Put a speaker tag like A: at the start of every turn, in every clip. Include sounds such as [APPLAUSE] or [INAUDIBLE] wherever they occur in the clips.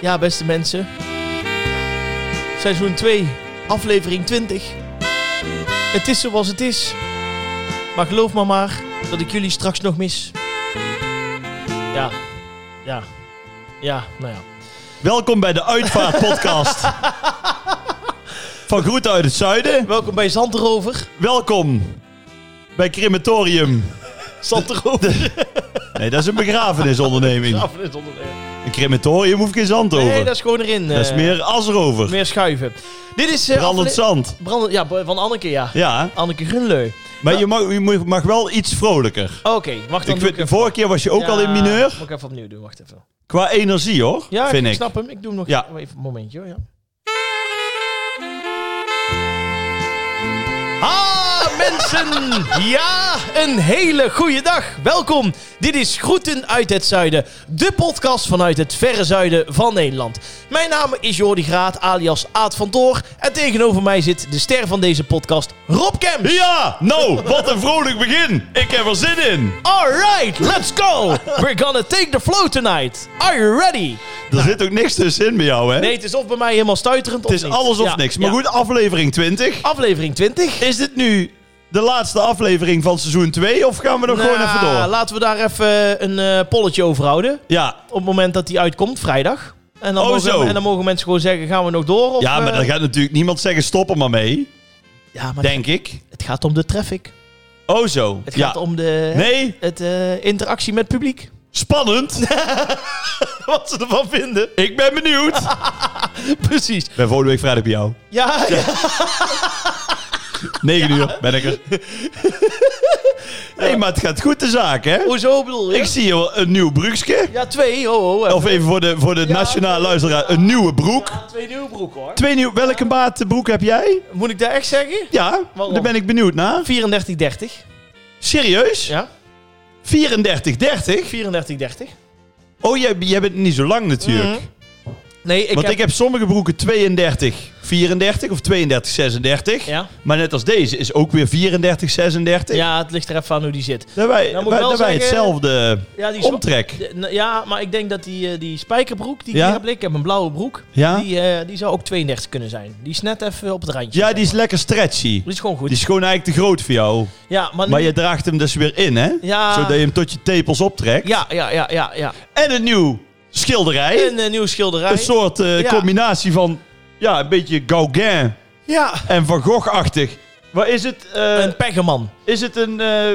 A: Ja, beste mensen. Seizoen 2, aflevering 20. Het is zoals het is. Maar geloof me maar dat ik jullie straks nog mis. Ja, ja, ja, nou ja.
B: Welkom bij de
A: [LAUGHS]
B: Uitvaart Podcast. Van Groeten uit het Zuiden.
A: Welkom bij Zandrover.
B: Welkom bij Crematorium. [LAUGHS]
A: Zandrover.
B: Nee, dat is een begrafenisonderneming. Een crematorium hoef geen zand over.
A: Nee, dat is gewoon erin.
B: Dat is
A: eh,
B: meer as erover.
A: meer schuiven. Dit is... eh,
B: Brandend
A: afle-
B: zand.
A: Brandend- ja, van Anneke, ja.
B: Ja,
A: Anneke Gunleu.
B: maar je mag, je moet- mag wel iets vrolijker.
A: Oké, wacht dan. doe
B: Ik vind, de
A: even-
B: vorige keer was je ook
A: Ja,
B: al in mineur.
A: Moet ik even opnieuw doen, wacht even.
B: Qua energie hoor,
A: Ja,
B: vind
A: ik,
B: ik.
A: snap hem. Ik doe hem nog
B: Ja.
A: even een momentje. hoor, Ja. Ah, mensen! Ja, een hele goede dag. Welkom. Dit is Groeten uit het Zuiden. De podcast vanuit het verre zuiden van Nederland. Mijn naam is Jordi Graat, alias Aad van Toor. En tegenover mij zit de ster van deze podcast, Rob Kemp.
B: Ja, nou, wat een vrolijk begin. Ik heb er zin in.
A: Alright, let's go! We're gonna take the flow tonight. Are you ready?
B: Er zit ook niks tussenin bij jou, hè?
A: Nee, het is of bij mij helemaal stuiterend
B: Het is alles of niks. Maar goed, aflevering 20.
A: Aflevering 20.
B: Is dit nu de laatste aflevering van seizoen 2 of gaan we nog gewoon even
A: Nou,
B: door?
A: Laten we daar even een eh, polletje over houden.
B: Ja.
A: Op het moment dat die uitkomt, vrijdag. En dan,
B: Oh,
A: mogen,
B: zo.
A: en dan mogen mensen gewoon zeggen, gaan we nog door? Of,
B: ja, maar
A: eh,
B: dan gaat natuurlijk niemand zeggen stop er maar mee,
A: ja, maar
B: denk ik.
A: het gaat om de traffic.
B: Oh zo.
A: Het
B: ja.
A: gaat om de
B: Nee,
A: het, eh, interactie met publiek. [LAUGHS]
B: spannend.
A: Wat ze ervan vinden.
B: ik ben benieuwd.
A: [LAUGHS] Precies.
B: Ik ben volgende week vrijdag bij jou.
A: Ja, ja.
B: 9 uur ben ik er.
A: [LAUGHS]
B: hey, maar het gaat goed de zaak, hè?
A: hoezo bedoel je?
B: Ik zie hier wel een nieuw broekje.
A: Ja, twee. Oh, oh,
B: Of even voor de, voor de nationale luisteraar, een nieuwe broek.
A: Ja, twee nieuwe broeken hoor.
B: Twee nieuw, welke maat broek heb jij?
A: Moet ik dat echt zeggen?
B: Ja,
A: Waarom?
B: daar ben ik benieuwd naar.
A: 34,30.
B: Serieus?
A: Ja,
B: 34, 30?
A: 34,30.
B: Oh, jij, jij bent niet zo lang natuurlijk.
A: Mhm. Nee, ik
B: Want
A: heb...
B: ik heb sommige broeken 32, 34 of 32, 36.
A: Ja.
B: Maar net als deze is ook weer 34, 36.
A: ja, het ligt er even aan hoe die zit.
B: Daarbij,
A: Nou, moet ik wel
B: wij- daarbij
A: zeggen-
B: hetzelfde
A: Ja, die is-
B: omtrek.
A: De- nou Ja, maar ik denk dat die, eh, die spijkerbroek die ik
B: Ja?
A: hier heb liggen, ik heb een blauwe broek,
B: Ja?
A: die, eh, die zou ook 32 kunnen zijn. Die is net even op het randje.
B: Ja,
A: zeg
B: die is
A: maar.
B: lekker stretchy.
A: Die is gewoon goed.
B: Die is gewoon eigenlijk te groot voor jou.
A: Ja, maar, nu-
B: Maar je draagt hem dus weer in, hè?
A: ja,
B: Zodat je hem tot je tepels optrekt.
A: ja, ja, ja, ja, ja.
B: En een nieuw schilderij.
A: Een eh, nieuwe schilderij.
B: Een soort eh,
A: Ja.
B: combinatie van ja, een beetje Gauguin
A: ja.
B: en Van Gogh-achtig. Waar is het? eh,
A: Een peggerman.
B: Is het een eh,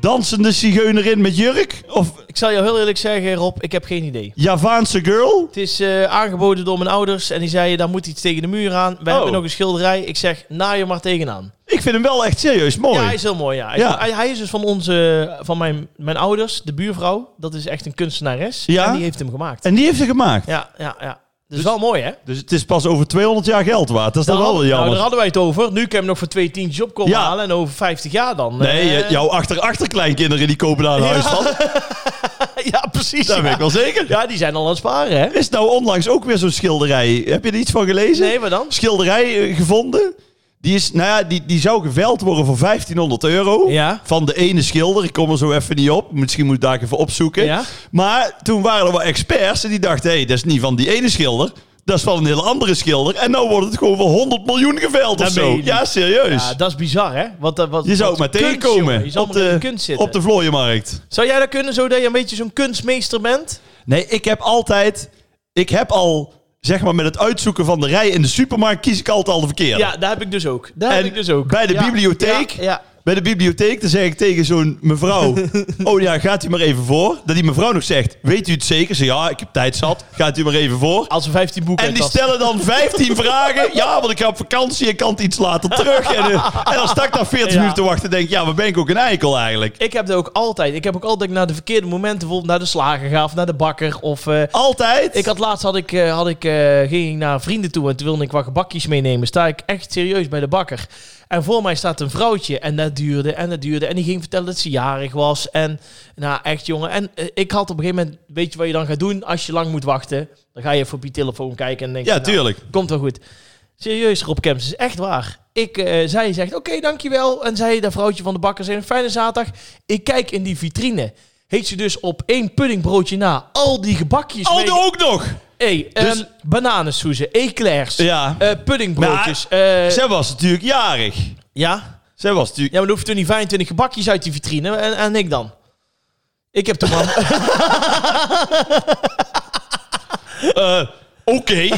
B: dansende zigeunerin met jurk? Of
A: Ik zal jou heel eerlijk zeggen, Rob, ik heb geen idee.
B: Javaanse girl?
A: Het is eh, aangeboden door mijn ouders en die zeiden, daar moet iets tegen de muur aan. We
B: Oh.
A: hebben nog een schilderij. Ik zeg, na je maar tegenaan.
B: Ik vind hem wel echt serieus mooi.
A: Ja, hij is heel mooi. Ja. Hij,
B: Ja.
A: Hij, hij is dus van, onze, van mijn, mijn ouders, de buurvrouw. Dat is echt een kunstenares.
B: Ja?
A: En die heeft hem gemaakt.
B: En die heeft hij gemaakt.
A: Ja, ja, ja. Dus, wel mooi, hè?
B: Dus het is pas over 200 jaar geld waard. Dat is dan wel
A: hadden-
B: weer jammer.
A: Nou, daar hadden wij het over. Nu kan je hem nog voor twee tientjes op komen
B: Ja.
A: halen. En over 50 jaar dan.
B: nee,
A: eh,
B: je- jouw achter-achterkleinkinderen die kopen daar een
A: Ja.
B: huis
A: [LAUGHS]
B: van. Dat
A: ja, precies. Ja.
B: weet ik wel zeker.
A: Ja, die zijn al aan het sparen, hè?
B: Is nou onlangs ook weer zo'n schilderij? Heb je er iets van gelezen?
A: Nee, maar dan?
B: Schilderij eh, gevonden. Die, is, nou ja, die, die zou geveld worden voor 1500 euro.
A: Ja.
B: Van de ene schilder. Ik kom er zo even niet op. Misschien moet ik daar even opzoeken.
A: Ja.
B: Maar toen waren er wel experts en die dachten, hé, dat is niet van die ene schilder. Dat is van een hele andere schilder. En nou wordt het gewoon voor 100 miljoen geveld
A: Dat
B: of
A: meen je
B: zo.
A: niet.
B: Ja, serieus.
A: Ja, dat is bizar, hè? Wat, eh, wat,
B: je zou
A: wat
B: het maar
A: kunst, jongen. Je
B: tegenkomen
A: zou
B: op
A: maar in de
B: de,
A: kunst zitten.
B: op de vlooienmarkt.
A: Zou jij dat kunnen, zodat je een beetje zo'n kunstmeester bent?
B: Nee, ik heb altijd... Ik heb al, zeg maar, met het uitzoeken van de rij in de supermarkt kies ik altijd al de verkeerde.
A: Ja, dat heb ik dus ook. Dat heb
B: En
A: ik dus ook.
B: bij de
A: Ja.
B: bibliotheek?
A: Ja, ja.
B: Bij de bibliotheek, dan zeg ik tegen zo'n
A: [LAUGHS]
B: mevrouw... oh ja, gaat u maar even voor. Dat die mevrouw nog zegt, weet u het zeker? Ze ja, ik heb tijd zat. Gaat u maar even voor.
A: Als we 15 boeken
B: En die
A: uit de tas-
B: stellen dan
A: [LAUGHS]
B: 15 vragen. Ja, want ik ga op vakantie en kan het iets later terug. En, eh, en dan sta ik daar 40
A: Ja.
B: minuten te wachten en denk ik, ja, maar ben ik ook een eikel eigenlijk?
A: Ik heb dat ook altijd. Ik heb ook altijd naar de verkeerde momenten, bijvoorbeeld naar de slager ga of naar de bakker of... eh,
B: Altijd.
A: Ik had laatst had ik, eh, had ik, eh, ging ik naar vrienden toe en toen wilde ik wat gebakjes meenemen. Sta ik echt serieus bij de bakker. En voor mij staat een vrouwtje en dat duurde en dat duurde. En die ging vertellen dat ze jarig was. En nou echt jongen. En eh, ik had op een gegeven moment, weet je wat je dan gaat doen als je lang moet wachten? Dan ga je even op je telefoon kijken en denk je,
B: ja,
A: nou,
B: tuurlijk.
A: komt wel goed. Serieus Rob Kemps, is echt waar. Ik, eh, zij zegt oké dankjewel. En zij, dat vrouwtje van de bakker, zei een fijne zaterdag. Ik kijk in die vitrine. heeft ze dus op één puddingbroodje na al die gebakjes
B: Aldo
A: mee-
B: Oh, ook nog!
A: Hey,
B: Dus-
A: ehm, bananensoezen, eclairs,
B: Ja.
A: eh, puddingbroodjes. eh,
B: Zij was natuurlijk jarig.
A: ja?
B: Zij was natuurlijk...
A: Ja, maar dan hoef je toen niet 25 gebakjes uit die vitrine. En, en ik dan? Ik heb toch [LAUGHS] maar...
B: eh, Oké.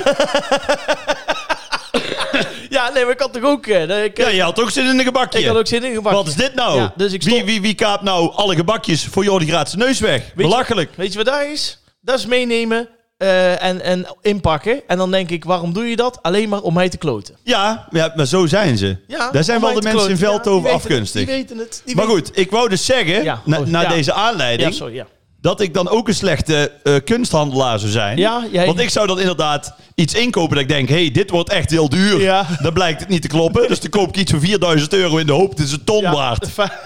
A: [LAUGHS] ja, nee, maar ik had toch ook... eh, dat ik, eh,
B: ja, je had ook zin in een gebakje.
A: ik had ook zin in een gebakje.
B: Wat is dit nou?
A: Ja, dus ik stop-
B: wie, wie, wie kaapt nou alle gebakjes voor Jordi Graatse neus weg?
A: je-
B: Belachelijk.
A: Weet je wat daar is? Dat is meenemen eh, en, en inpakken. En dan denk ik, waarom doe je dat? Alleen maar om mij te kloten.
B: Ja, ja, maar zo zijn ze.
A: Ja,
B: Daar zijn
A: om
B: wel
A: mij
B: de
A: te
B: mensen in
A: kloten. Ja,
B: Veldhoven
A: die weten het,
B: afgunstig.
A: Die weten het. Die
B: maar
A: weten-
B: goed, ik wou dus zeggen,
A: Ja,
B: na,
A: oh,
B: na
A: ja.
B: deze
A: Ja,
B: aanleiding,
A: sorry, ja.
B: dat ik dan ook een slechte eh, kunsthandelaar zou zijn.
A: Ja, jij-
B: Want ik zou dan inderdaad iets inkopen dat ik denk, hé, hey, dit wordt echt heel duur.
A: Ja.
B: Dan blijkt het niet te kloppen. Dus dan koop ik iets voor 4000 euro in de hoop, dat is een ton
A: Ja, [LAUGHS]
B: waard.
A: fa-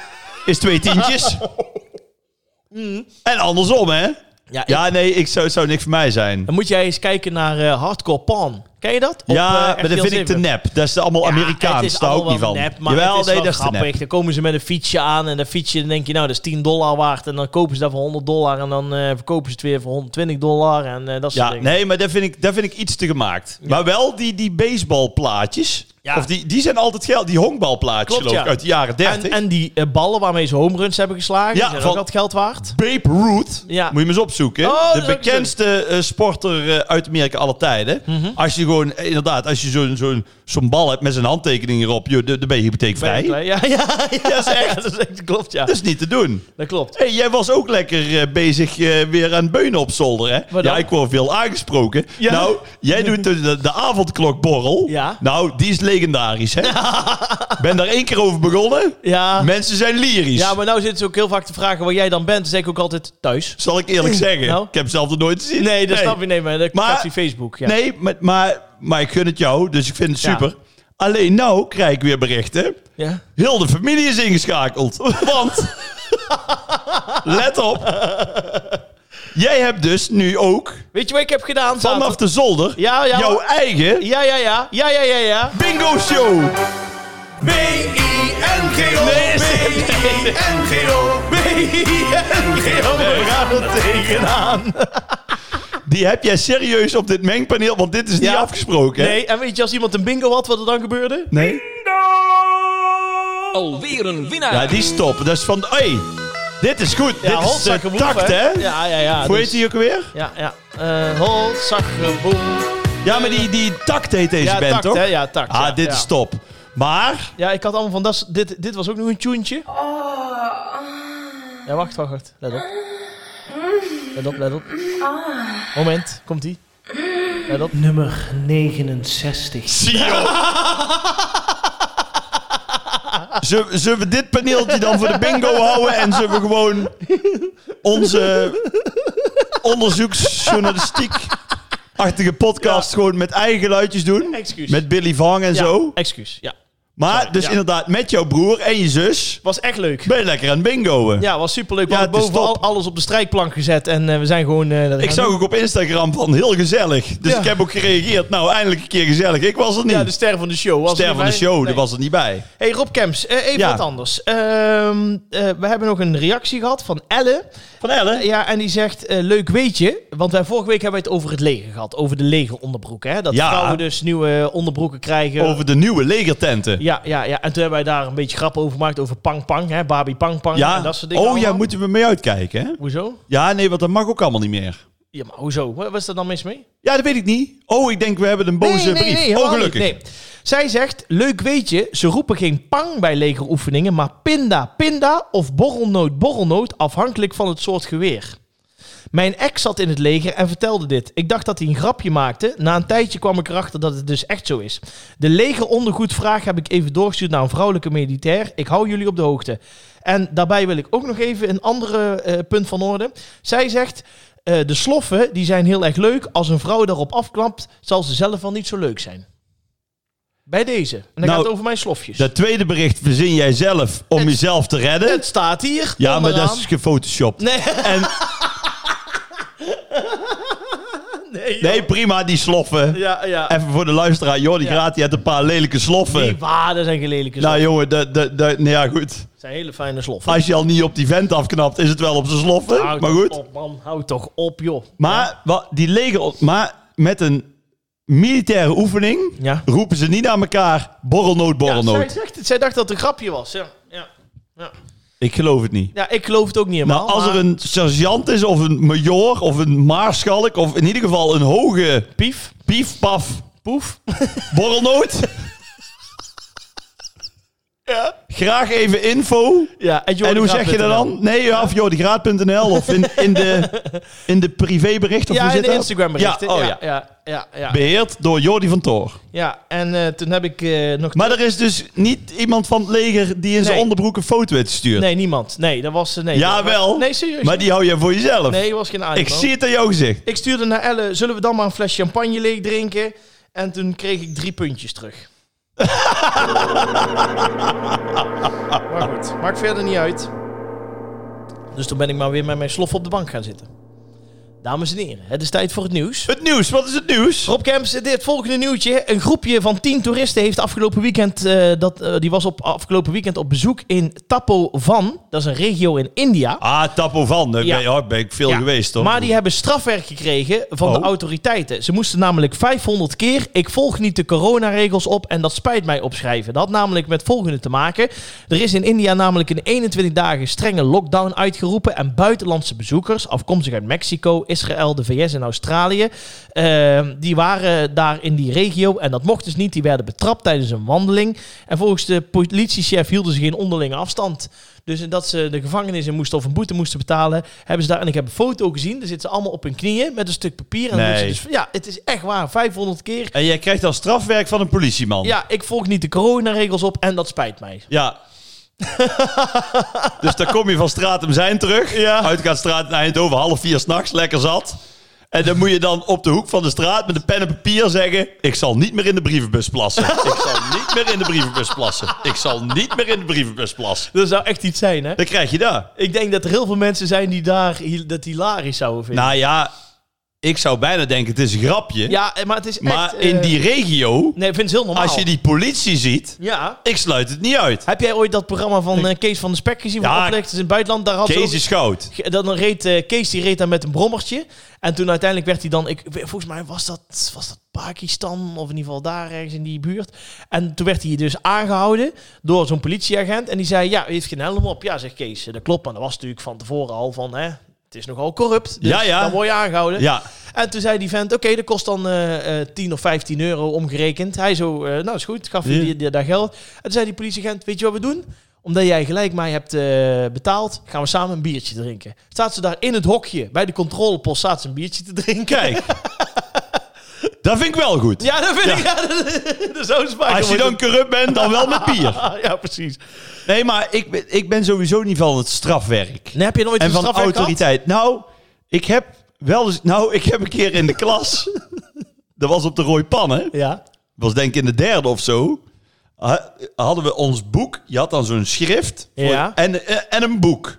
B: Is twee tientjes. En andersom, hè?
A: Ja, Mm. ik-
B: Ja, nee, ik zou, het zou niks voor mij zijn.
A: Dan moet jij eens kijken naar eh, Hardcore Pan. Ken je dat? Op, eh,
B: ja, maar
A: RTL
B: dat vind ik
A: 7.
B: te nep. Dat is allemaal
A: Ja, het
B: Amerikaans.
A: is
B: Daar hou ik niet
A: allemaal
B: van.
A: Nep, maar het is wel grappig. Dan komen ze met een fietsje aan en dat fietsje, dan denk je, nou, dat is 10 dollar waard. En dan kopen ze dat voor 100 dollar en dan eh, verkopen ze het weer voor 120 dollar en eh, dat soort
B: Ja,
A: dingen.
B: nee, maar daar vind ik, daar vind ik iets te gemaakt. Maar wel die, die baseballplaatjes.
A: Ja.
B: Of die, die zijn altijd geld. Die honkbalplaatjes,
A: Klopt,
B: geloof ik,
A: ja.
B: uit de jaren 30.
A: En, en die eh, ballen waarmee ze home runs hebben geslagen,
B: Ja,
A: zijn
B: van-
A: ook dat geld waard.
B: Babe Ruth,
A: Ja.
B: moet je me eens opzoeken.
A: Oh, dat
B: de
A: is ook
B: bekendste eh, sporter eh, uit Amerika alle tijden.
A: Mhm.
B: Als je gewoon, eh, inderdaad, als je zo'n zo'n zo'n bal hebt met zijn handtekening erop, joh, dan dan ben je hypotheekvrij.
A: Ja, ja, ja, ja,
B: dat is echt-
A: [LAUGHS] dat is echt- klopt, ja.
B: Dat is niet te doen.
A: Dat klopt.
B: Hey, jij was ook lekker eh, bezig eh, weer aan beunen op zolder, hè?
A: Wat dan?
B: ja, ik word veel aangesproken.
A: Ja.
B: Nou, jij doet de, de, de avondklokborrel.
A: Ja.
B: Nou, die is legendarisch,
A: [LAUGHS]
B: hè? ben daar één keer over begonnen.
A: Ja.
B: Mensen zijn lyrisch.
A: ja, maar nou zitten ze ook heel vaak te vragen waar jij dan bent. Dan zeg ik ook altijd thuis.
B: Zal ik eerlijk zeggen.
A: Nou.
B: Ik heb zelf nog nooit gezien.
A: Nee, dat snap je niet, maar dat
B: Maar-
A: maar, die Facebook. Ja.
B: Nee, maar, maar, maar ik gun het jou, dus ik vind het
A: Ja.
B: super. Alleen nou krijg ik weer berichten.
A: Ja.
B: Heel de familie is ingeschakeld.
A: [LAUGHS]
B: Want, let op. Jij hebt dus nu ook
A: Weet je wat ik heb gedaan?
B: vanaf
A: zaterdag?
B: de zolder
A: Ja, ja.
B: jouw eigen
A: Ja, ja, ja. Ja, ja, ja, ja.
B: bingo show.
C: B-I-N-G-O.
B: Nee, nee,
C: B-I-N-G-O. B-I-N-G-O.
B: We gaan er
A: [LAUGHS]
B: tegenaan. Die heb jij serieus op dit mengpaneel, want dit is niet
A: Ja.
B: afgesproken. hè?
A: Nee, en weet je, als iemand een bingo had, wat er dan gebeurde?
B: Nee?
D: Alweer een winnaar.
B: Ja, die stoppen. Dat is van, hey, dit is goed.
A: Ja,
B: dit is de
A: hotzakken woef,
B: tact, hè?
A: Ja, ja, ja.
B: Hoe
A: dus-
B: heet die ook weer?
A: Ja, ja. Eh Holzagreboom.
B: Ja, maar die, die tact heet deze
A: Ja,
B: band,
A: takt,
B: toch?
A: hè? Ja, takt.
B: Ah,
A: ja,
B: dit
A: ja.
B: is top. Maar,
A: Ja, ik had allemaal van... Dat, is- dit, dit was ook nog een tuentje. Ja, wacht, wacht, wacht. Let op. Let op, let op. Moment, komt ie. Let op. Nummer 69.
B: zie je Zullen zullen we dit paneeltje dan voor de bingo houden en zullen we gewoon onze onderzoeksjournalistiek-achtige podcast gewoon met eigen geluidjes doen?
A: Excuus.
B: Met Billy Vang en
A: Ja,
B: zo.
A: excuus, ja.
B: Maar dus
A: ja.
B: inderdaad, met jouw broer en je zus
A: Was echt leuk.
B: ben je lekker aan het bingoen.
A: Ja, was superleuk. We
B: Ja,
A: hadden
B: het is
A: boven
B: top.
A: al- alles op de strijkplank gezet en eh, we zijn gewoon... eh, dat
B: Ik
A: gaan
B: zag
A: doen.
B: ook op Instagram van heel gezellig. Dus
A: Ja.
B: ik heb ook gereageerd. Nou, eindelijk een keer gezellig. Ik was er niet.
A: Ja, de ster van de show. Was er
B: Ster
A: niet
B: van de
A: bij?
B: show,
A: Nee.
B: die was er niet bij.
A: Hey Rob Kemps, eh, even
B: Ja.
A: wat anders. Ehm, eh, we hebben nog een reactie gehad van Elle.
B: Van Ellen?
A: Ja, en die zegt, eh, leuk weetje. Want wij vorige week hebben we het over het leger gehad. Over de legeronderbroeken. Hè? Dat
B: Ja.
A: vrouwen dus nieuwe onderbroeken krijgen.
B: Over de nieuwe legertenten.
A: Ja, ja, ja. En toen hebben wij daar een beetje grap over gemaakt. Over pang pang, hè? Babi pang pang.
B: Ja.
A: En dat soort dingen
B: Oh ja,
A: allemaal.
B: moeten we mee uitkijken. Hè?
A: Hoezo?
B: Ja, nee, want dat mag ook allemaal niet meer.
A: Ja, maar hoezo? Wat wat is er dan mis mee?
B: Ja, dat weet ik niet. Oh, ik denk we hebben een boze brief. oh,
A: helemaal
B: gelukkig.
A: niet. Nee. Zij zegt, leuk weetje, ze roepen geen pang bij legeroefeningen, maar pinda, pinda of borrelnoot, borrelnoot, afhankelijk van het soort geweer. Mijn ex zat in het leger en vertelde dit. Ik dacht dat hij een grapje maakte. Na een tijdje kwam ik erachter dat het dus echt zo is. De legerondergoedvraag heb ik even doorgestuurd naar een vrouwelijke militair. Ik hou jullie op de hoogte. En daarbij wil ik ook nog even een ander punt van orde. Zij zegt, eh, de sloffen die zijn heel erg leuk. Als een vrouw daarop afklampt, zal ze zelf wel niet zo leuk zijn. Bij deze. En dan
B: Nou,
A: gaat het over mijn slofjes.
B: Dat tweede bericht verzin jij zelf om
A: Het-
B: jezelf te redden.
A: Het staat hier.
B: ja, maar
A: onderaan.
B: dat is gefotoshopt.
A: Nee, nee.
B: En
A: [LAUGHS] Nee, joh.
B: Nee, prima, die sloffen.
A: Ja, ja.
B: Even voor de luisteraar, Jordi
A: Ja.
B: Graat, die had een paar lelijke sloffen.
A: Die waarden zijn gelelijke
B: nou
A: sloffen.
B: jongen, dat, dat, dat, nou ja goed.
A: zijn hele fijne sloffen.
B: Als je al niet op die vent afknapt, is het wel op zijn sloffen.
A: Houd
B: maar
A: toch
B: goed.
A: Nou, op, man. Hou toch op, joh.
B: Maar wat, die leger, maar met een militaire oefening
A: Ja.
B: roepen ze niet aan elkaar borrelnood,
A: Ja,
B: borrelnood.
A: zij, zegt het, zij dacht dat het een grapje was. Ja, ja, ja.
B: Ik geloof het niet.
A: ja ik geloof het ook niet helemaal.
B: Nou, als er
A: maar-
B: een sergeant is, of een major, of een maarschalk, of in ieder geval een hoge
A: pief,
B: piefpaf [LAUGHS]
A: poef.
B: borrelnood,
A: Ja.
B: graag even info.
A: ja en,
B: en
A: Jordi
B: hoe
A: Graat
B: zeg je dat
A: punt
B: dan? Nee, ja, of jordigraat.nl of in, in, de, in de privébericht of
A: Ja,
B: hoe
A: in
B: zit
A: de
B: dat?
A: Instagram berichten.
B: Ja, oh,
A: ja, ja, ja, ja.
B: Beheerd door Jordi van Toor.
A: Ja, en eh, toen heb ik eh, nog...
B: Maar er is dus niet iemand van het leger die in zijn
A: Nee.
B: onderbroek een foto heeft gestuurd.
A: Nee, niemand. Nee, dat was... eh, Nee,
B: Jawel.
A: Nee, serieus.
B: Maar die hou je voor jezelf.
A: Nee, was geen animo.
B: ik zie het aan jouw gezicht.
A: Ik stuurde naar Elle, zullen we dan maar een fles champagne leeg drinken? En toen kreeg ik drie puntjes terug. maar goed, maakt verder niet uit. Dus toen ben ik maar weer met mijn slof op de bank gaan zitten. Dames en heren, het is tijd voor het nieuws.
B: Het nieuws, wat is het nieuws?
A: Rob Kemps, dit volgende nieuwtje. Een groepje van 10 toeristen heeft afgelopen weekend, eh, dat, eh, die was op, afgelopen weekend op bezoek in Tapo Van. Dat is een regio in India.
B: Ah, Tapo van, daar
A: Ja.
B: ben, je- oh, ben ik veel
A: Ja,
B: geweest toch?
A: Maar die hebben strafwerk gekregen van de
B: Oh.
A: autoriteiten. Ze moesten namelijk 500 keer. Ik volg niet de coronaregels op en dat spijt mij opschrijven. Dat had namelijk met volgende te maken. Er is in India namelijk in 21 dagen strenge lockdown uitgeroepen. En buitenlandse bezoekers, afkomstig uit Mexico, Israël, de VS en Australië. eh, die waren daar in die regio en dat mocht dus niet. Die werden betrapt tijdens een wandeling. En volgens de politiechef hielden ze geen onderlinge afstand. Dus dat ze de gevangenis in moesten of een boete moesten betalen, hebben ze daar. En ik heb een foto gezien. Daar zitten ze allemaal op hun knieën met een stuk papier. En dan
B: Nee.
A: doen ze dus, ja, het is echt waar. 500 keer.
B: En jij krijgt als strafwerk van een politieman.
A: Ja, ik volg niet de coronaregels op en dat spijt mij. [LAUGHS]
B: Ja. dus dan kom je van Stratum Zijn terug. Uitgaansstraat naar Eindhoven, half vier s'nachts, lekker zat. En dan moet je dan op de hoek van de straat met een pen en papier zeggen... Ik zal niet meer in de
A: [LAUGHS]
B: brievenbus plassen. Ik zal niet meer in de brievenbus plassen. Ik zal niet meer in de brievenbus plassen.
A: Dat zou echt iets zijn, hè?
B: Dan krijg je daar.
A: Ik denk dat er heel veel mensen zijn die daar hi- dat hilarisch zouden vinden.
B: Nou ja, ik zou bijna denken het is een grapje.
A: ja, eh, maar het is
B: Nou. maar
A: echt... eh,
B: in die regio,
A: Nee, ik vind het heel normaal.
B: als je die politie ziet...
A: Ja.
B: Ik sluit het niet uit.
A: Heb jij ooit dat programma van eh, Kees van de Spek gezien?
B: Ja.
A: Van Oplechters in het buitenland? Daar had ze ook-
B: Kees is goud.
A: Ge- Dan reed eh, Kees die reed daar met een brommertje. En toen uiteindelijk werd hij dan. Ik, we- volgens mij was dat, was dat Pakistan. Of in ieder geval daar ergens in die buurt. En toen werd hij dus aangehouden door zo'n politieagent. En die zei: Ja, u heeft geen helm op. Ja, zegt Kees. eh, Dat klopt. Maar dat was natuurlijk van tevoren al van. Hè, het is nogal corrupt. Dus
B: Ja, ja.
A: dan word je aangehouden.
B: Ja,
A: En toen zei die vent, oké, dat kost dan eh, eh, 10 of 15 euro omgerekend. Hij zo, eh, nou is goed, gaf hij
B: Ja.
A: die, die- daar geld. En toen zei die politieagent, weet je wat we doen? Omdat jij gelijk mij hebt eh, betaald, gaan we samen een biertje drinken. Staat ze daar in het hokje, bij de controlepost, staat ze een biertje te drinken.
B: [LAUGHS] kijk. dat vind ik wel goed.
A: Ja, dat vind ik, ja, dat, [LAUGHS] dat zou smaak.
B: Als je dan corrupt bent, dan wel met bier.
A: Ja, precies.
B: [LAUGHS] Nee, maar ik ben, ik ben sowieso niet van het strafwerk.
A: Nee, heb je nooit
B: En
A: een
B: van
A: strafwerk gehad?
B: autoriteit. Nou, ik heb wel eens... Nou, ik heb een keer in de [LAUGHS] klas... dat was op de Rooi Pannen.
A: Ja.
B: was denk ik in de derde of zo. ha- Hadden we ons boek. Je had dan zo'n schrift. voor-
A: Ja.
B: En, eh, en- en een boek.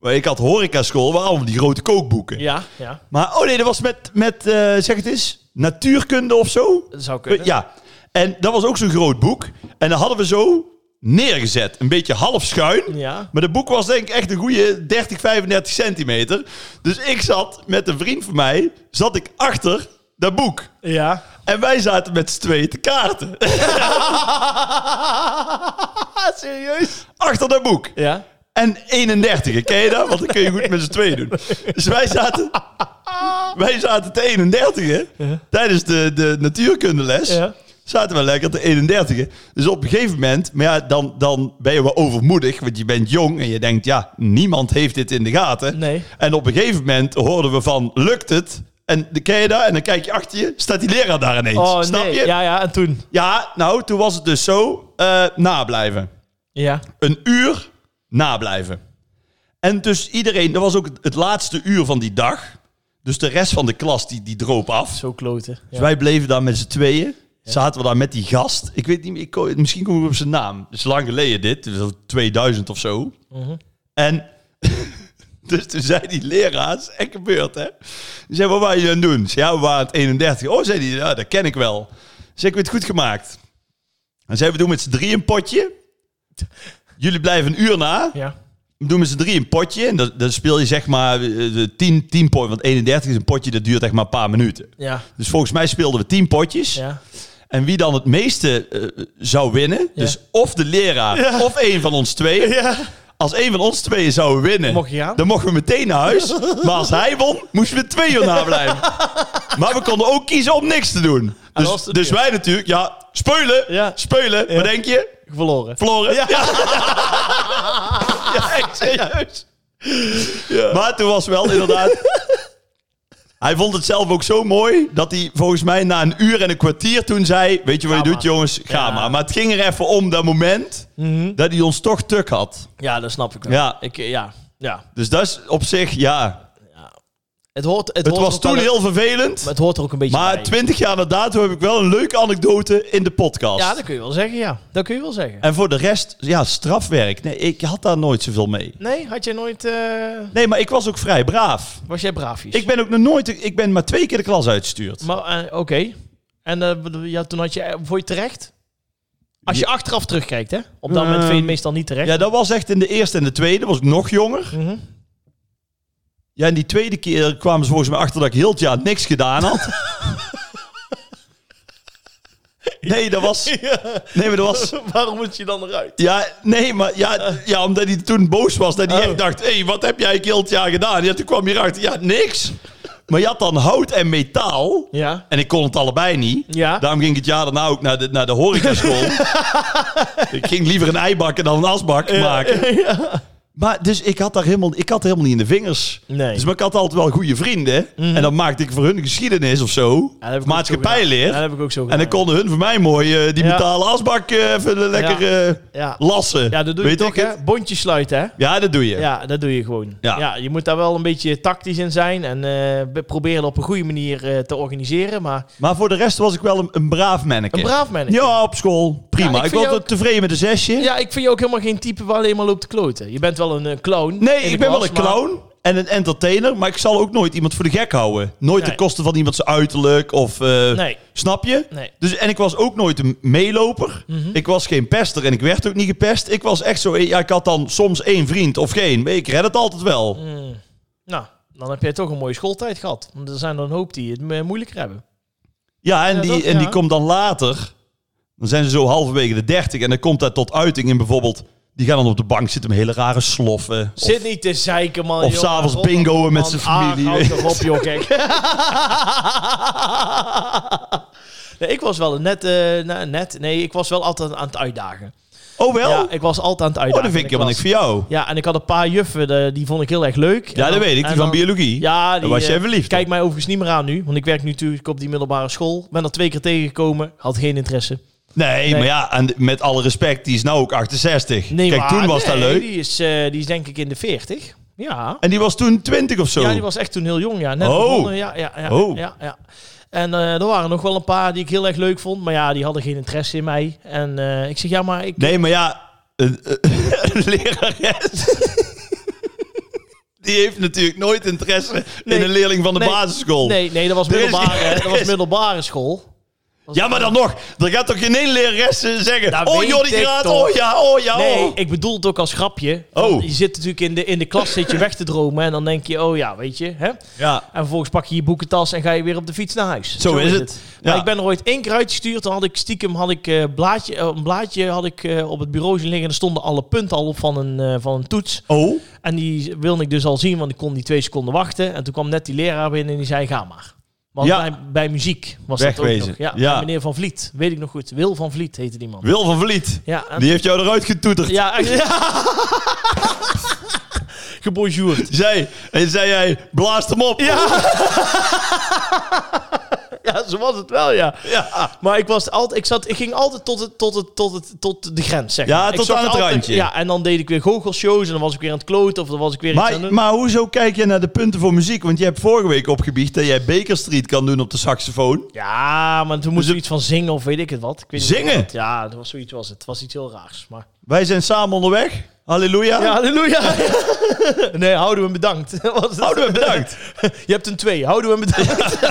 B: Maar ik had horecaschool. Waarom? Die grote kookboeken.
A: Ja, ja,
B: Maar, oh nee, dat was met, met eh, zeg het eens, natuurkunde of zo.
A: dat zou kunnen.
B: Ja, en dat was ook zo'n groot boek. En dat hadden we zo neergezet. Een beetje half schuin.
A: Ja.
B: Maar dat boek was denk ik echt een goede 30, 35 centimeter. Dus ik zat met een vriend van mij, zat ik achter dat boek.
A: Ja.
B: En wij zaten met z'n tweeën te kaarten. [LAUGHS]
A: Ah, Serieus?
B: achter dat boek.
A: Ja.
B: En 31, ken je dat? Want dan kun je goed met z'n tweeën doen. Dus wij zaten, wij zaten te 31 tijdens de, de natuurkundeles.
A: Ja.
B: Zaten we lekker te 31. Dus op een gegeven moment, maar ja, dan, dan ben je wel overmoedig, want je bent jong en je denkt, ja, niemand heeft dit in de gaten.
A: Nee.
B: En op een gegeven moment hoorden we van, lukt het? En dan ken je dat? En dan kijk je achter je, staat die leraar daar ineens.
A: Oh,
B: Snap
A: nee.
B: je?
A: Ja, ja, en toen?
B: Ja, nou, toen was het dus zo, eh, nablijven
A: Ja.
B: een uur nablijven. En dus iedereen, dat was ook het- het laatste uur van die dag. Dus de rest van de klas die, die droop af.
A: Zo kloten.
B: Dus wij bleven daar met z'n tweeën. Zaten we daar met die gast. Ik weet niet meer, ik, ko- misschien kom ik op zijn naam. Het is lang geleden dit, dus dat was 2000 of zo. En [LAUGHS] Dus toen zei die leraar, is echt gebeurd hè. Die zei, wat waren jullie aan het doen? Ik zei, ja, we waren het 31. Oh, zei die, ja, dat ken ik wel. Ik Zei, ik heb het goed gemaakt. En zei, we doen met z'n drie een potje. Jullie blijven een uur na.
A: Ja.
B: We doen met z'n drie een potje. En dat, dat speel je zeg maar 10 tien potje. Want 31 is een potje, dat duurt echt maar een paar minuten.
A: Ja.
B: Dus volgens mij speelden we 10 potjes.
A: Ja.
B: En wie dan het meeste eh, zou winnen,
A: Ja.
B: dus of de leraar of een van ons twee. Als een van ons tweeën zou winnen,
A: Mocht je gaan?
B: dan mochten we meteen naar
A: [LAUGHS]
B: huis. maar als hij won, moesten we twee uur nablijven. maar we konden ook kiezen om niks te doen.
A: dat
B: Dus,
A: was de
B: dus
A: deal.
B: wij natuurlijk, ja, speulen,
A: Ja.
B: speulen. Wat denk je?
A: Verloren.
B: Floren. Ja, [LAUGHS] Ja, echt serieus. Maar toen was wel inderdaad... Hij vond het zelf ook zo mooi dat hij volgens mij na een uur en een kwartier toen zei... Weet je wat je
A: Ga
B: doet
A: maar.
B: jongens, ga
A: Ja.
B: maar. Maar het ging er even om dat moment dat hij ons toch tuk had.
A: Ja, dat snap ik wel.
B: Ja.
A: Ik, eh, ja. ja.
B: Dus dat is op zich, ja.
A: Het, hoort, het,
B: Het
A: hoort
B: was
A: ook wel
B: toen
A: een-
B: heel vervelend.
A: maar Het hoort er ook een beetje bij.
B: Maar twintig jaar na dato heb ik wel een leuke anekdote in de podcast.
A: Ja, dat kun je wel zeggen, ja. Dat kun je wel zeggen.
B: En voor de rest, ja, strafwerk. Nee, ik had daar nooit zoveel mee.
A: Nee, had jij nooit... eh,
B: Nee, maar ik was ook vrij braaf.
A: was jij braafjes?
B: Ik ben ook nog nooit, ik ben maar twee keer de klas uitgestuurd.
A: Maar, eh, oké. En eh, bedoel- ja, toen had je... eh, Vond je het terecht? Als je achteraf terugkijkt, hè? Op dat
B: Eh.
A: moment vind je het meestal niet terecht.
B: Ja, dat was echt in de eerste en de tweede, was ik nog jonger.
A: Mhm.
B: Ja, en die tweede keer kwamen ze volgens mij achter dat ik heel het jaar niks gedaan
A: [LAUGHS]
B: had. nee, dat
A: [LAUGHS]
B: was... Nee, maar dat was...
A: Waarom moet je dan eruit?
B: Ja, nee, maar ja, ja, omdat hij toen boos was. Dat hij
A: Eh. Oh.
B: echt dacht, hé, hey, wat heb jij eigenlijk heel het jaar gedaan? Ja, toen kwam hij erachter, ja, niks. Maar je had dan hout en metaal.
A: Ja.
B: En ik kon het allebei niet.
A: Ja.
B: Daarom ging ik het jaar daarna ook naar de, naar de
A: [LAUGHS]
B: horecaschool. ik ging liever een ei bakken dan een asbak
A: [LAUGHS]
B: maken. Maar dus ik had daar helemaal, ik had helemaal niet in de vingers.
A: Nee. Mhm.
B: Dus maar ik had altijd wel goede vrienden. En dan maakte ik voor hun geschiedenis of zo.
A: Ja, dat heb ik ook zo gedaan.
B: maatschappijleer.
A: Ja, dat heb ik ook zo
B: en
A: gedaan.
B: dan konden hun voor mij mooi eh, die
A: Ja.
B: metalen asbak eh, even eh, lekker eh,
A: Ja.
B: lassen.
A: Ja, dat doe
B: Weet
A: je
B: ik
A: toch, hè? Bondjes sluiten, hè?
B: Ja, dat doe je.
A: Ja, dat doe je gewoon.
B: Ja.
A: Ja. je moet daar wel een beetje tactisch in zijn en eh, be- proberen op een goede manier eh, te organiseren. Maar
B: Maar voor de rest was ik wel een, een braaf manneke.
A: een braaf man.
B: Ja, op school. Prima.
A: Ja, ik
B: ik
A: vind
B: was
A: je ook-
B: tevreden met een zesje.
A: Ja, ik vind je ook helemaal geen type waar alleen maar loopt te kloten. Je bent wel een eh, clown.
B: Nee,
A: in de
B: ik ben wel
A: klas,
B: een
A: maar-
B: clown en een entertainer, maar ik zal ook nooit iemand voor de gek houden. Nooit
A: Nee.
B: ten koste van iemand zijn uiterlijk of... eh,
A: Nee,
B: Snap je?
A: nee. Mhm.
B: Dus, en ik was ook nooit een meeloper. Ik was geen pester en ik werd ook niet gepest. Ik was echt zo... Ja, ik had dan soms één vriend of geen, maar ik red het altijd wel.
A: Nou, dan heb jij toch een mooie schooltijd gehad. Want er zijn er een hoop die het eh, moeilijker hebben.
B: Ja, en,
A: Ja,
B: die,
A: toch?
B: en
A: Ja.
B: die komt dan later... Dan zijn ze zo halverwege de dertig en dan komt dat tot uiting in bijvoorbeeld... Die gaan dan op de bank zitten met hele rare sloffen. Of-
A: Zit niet te zeiken, man.
B: of
A: joh.
B: s'avonds
A: Rot op,
B: bingoen met
A: man.
B: zijn familie.
A: Ah, houd toch
B: [LAUGHS]
A: op, joh, gek. nee, ik was wel net, eh, nou, net... Nee, ik was wel altijd aan het uitdagen.
B: oh wel?
A: Ja, ik was altijd aan het
B: oh,
A: uitdagen.
B: dat vind ik
A: in de
B: helemaal niks
A: klas.
B: voor jou.
A: Ja, en ik had een paar juffen, de- die vond ik heel erg leuk. En
B: Ja, dat
A: dan-
B: weet
A: en
B: ik. Die
A: dan-
B: van biologie.
A: Ja, die,
B: Daar was je
A: eh,
B: even lief.
A: Kijk mij overigens niet meer aan nu, want ik werk nu natuurlijk op die middelbare school. Ben er twee keer tegengekomen, had geen interesse.
B: Nee,
A: Nee.
B: maar ja, en met alle respect, die is nou ook 68.
A: Nee,
B: Kijk,
A: maar-
B: toen was dat
A: nee,
B: leuk.
A: Die is, eh, die is denk ik in de 40. Ja.
B: En die was toen 20 of zo.
A: Ja, die was echt toen heel jong, ja. Net
B: Oh.
A: begonnen, ja, ja, ja,
B: Oh.
A: ja, ja. En eh, er waren nog wel een paar die ik heel erg leuk vond, maar ja, die hadden geen interesse in mij. En eh, ik zeg, ja, maar ik...
B: Nee, maar ja, een, een [LAUGHS] lerares. die heeft natuurlijk nooit interesse
A: Nee.
B: in een leerling van de
A: Nee.
B: basisschool.
A: Nee, nee, dat was
B: Er is-
A: middelbare,
B: [LAUGHS] er
A: dat was
B: is-
A: middelbare school.
B: Ja, maar dan nog. Er gaat toch geen ene lerares eh, zeggen...
A: Dat
B: oh,
A: weet
B: Jordi
A: ik
B: Graat,
A: toch.
B: oh ja, oh ja,
A: Nee,
B: oh.
A: ik bedoel het ook als grapje.
B: Oh.
A: Want Je zit natuurlijk in de, in de klas zit je weg te dromen en dan denk je, oh ja, weet je. Hè?
B: Ja.
A: En vervolgens pak je je boekentas en ga je weer op de fiets naar huis.
B: Zo is het.
A: Maar
B: Ja.
A: ik ben er ooit één keer uitgestuurd. Dan had ik stiekem had ik, eh, blaadje, eh, een blaadje had ik, eh, op het bureau zien liggen. En er stonden alle punten al op van een, eh, van een toets.
B: Oh,
A: En die wilde ik dus al zien, want ik kon die twee seconden wachten. En toen kwam net die leraar binnen en die zei, ga maar. Want
B: Ja.
A: bij, bij muziek was dat ook
B: Wegwezen.
A: nog. Ja,
B: Ja.
A: bij meneer Van Vliet, weet ik nog goed. Wil Van Vliet heette die man.
B: Wil van Vliet.
A: Ja, en-
B: Die heeft jou eruit getoeterd. [LAUGHS]
A: ja, echt- ja. Gebonjourd.
B: Zij, en zei jij, blaast hem op.
A: Ja. [LAUGHS] ja, zo was het wel, ja.
B: Ja.
A: Maar ik, was altijd, ik, zat, ik ging altijd tot, het, tot, het, tot, het, tot de grens, zeg
B: Ja,
A: maar. Ik
B: tot
A: zocht
B: aan het
A: altijd-
B: randje.
A: Ja, en dan deed ik weer goochelshows en dan was ik weer aan het kloten of dan was ik weer iets aan
B: Maar,
A: het-
B: maar hoezo kijk je naar de punten voor muziek? Want je hebt vorige week opgebiecht dat jij Baker Street kan doen op de saxofoon.
A: Ja, maar toen moesten we iets van zingen of weet ik het wat. Ik weet niet
B: Dus Zingen?
A: wat het- ja, dat was zoiets was het. Het was iets heel raars, maar...
B: Wij zijn samen onderweg. Halleluja.
A: Ja, halleluja! [LAUGHS] Nee, houden we hem bedankt. [LAUGHS] Was het?
B: Houden we bedankt.
A: [LAUGHS] Je hebt een twee, houden we hem bedankt.
B: [LAUGHS]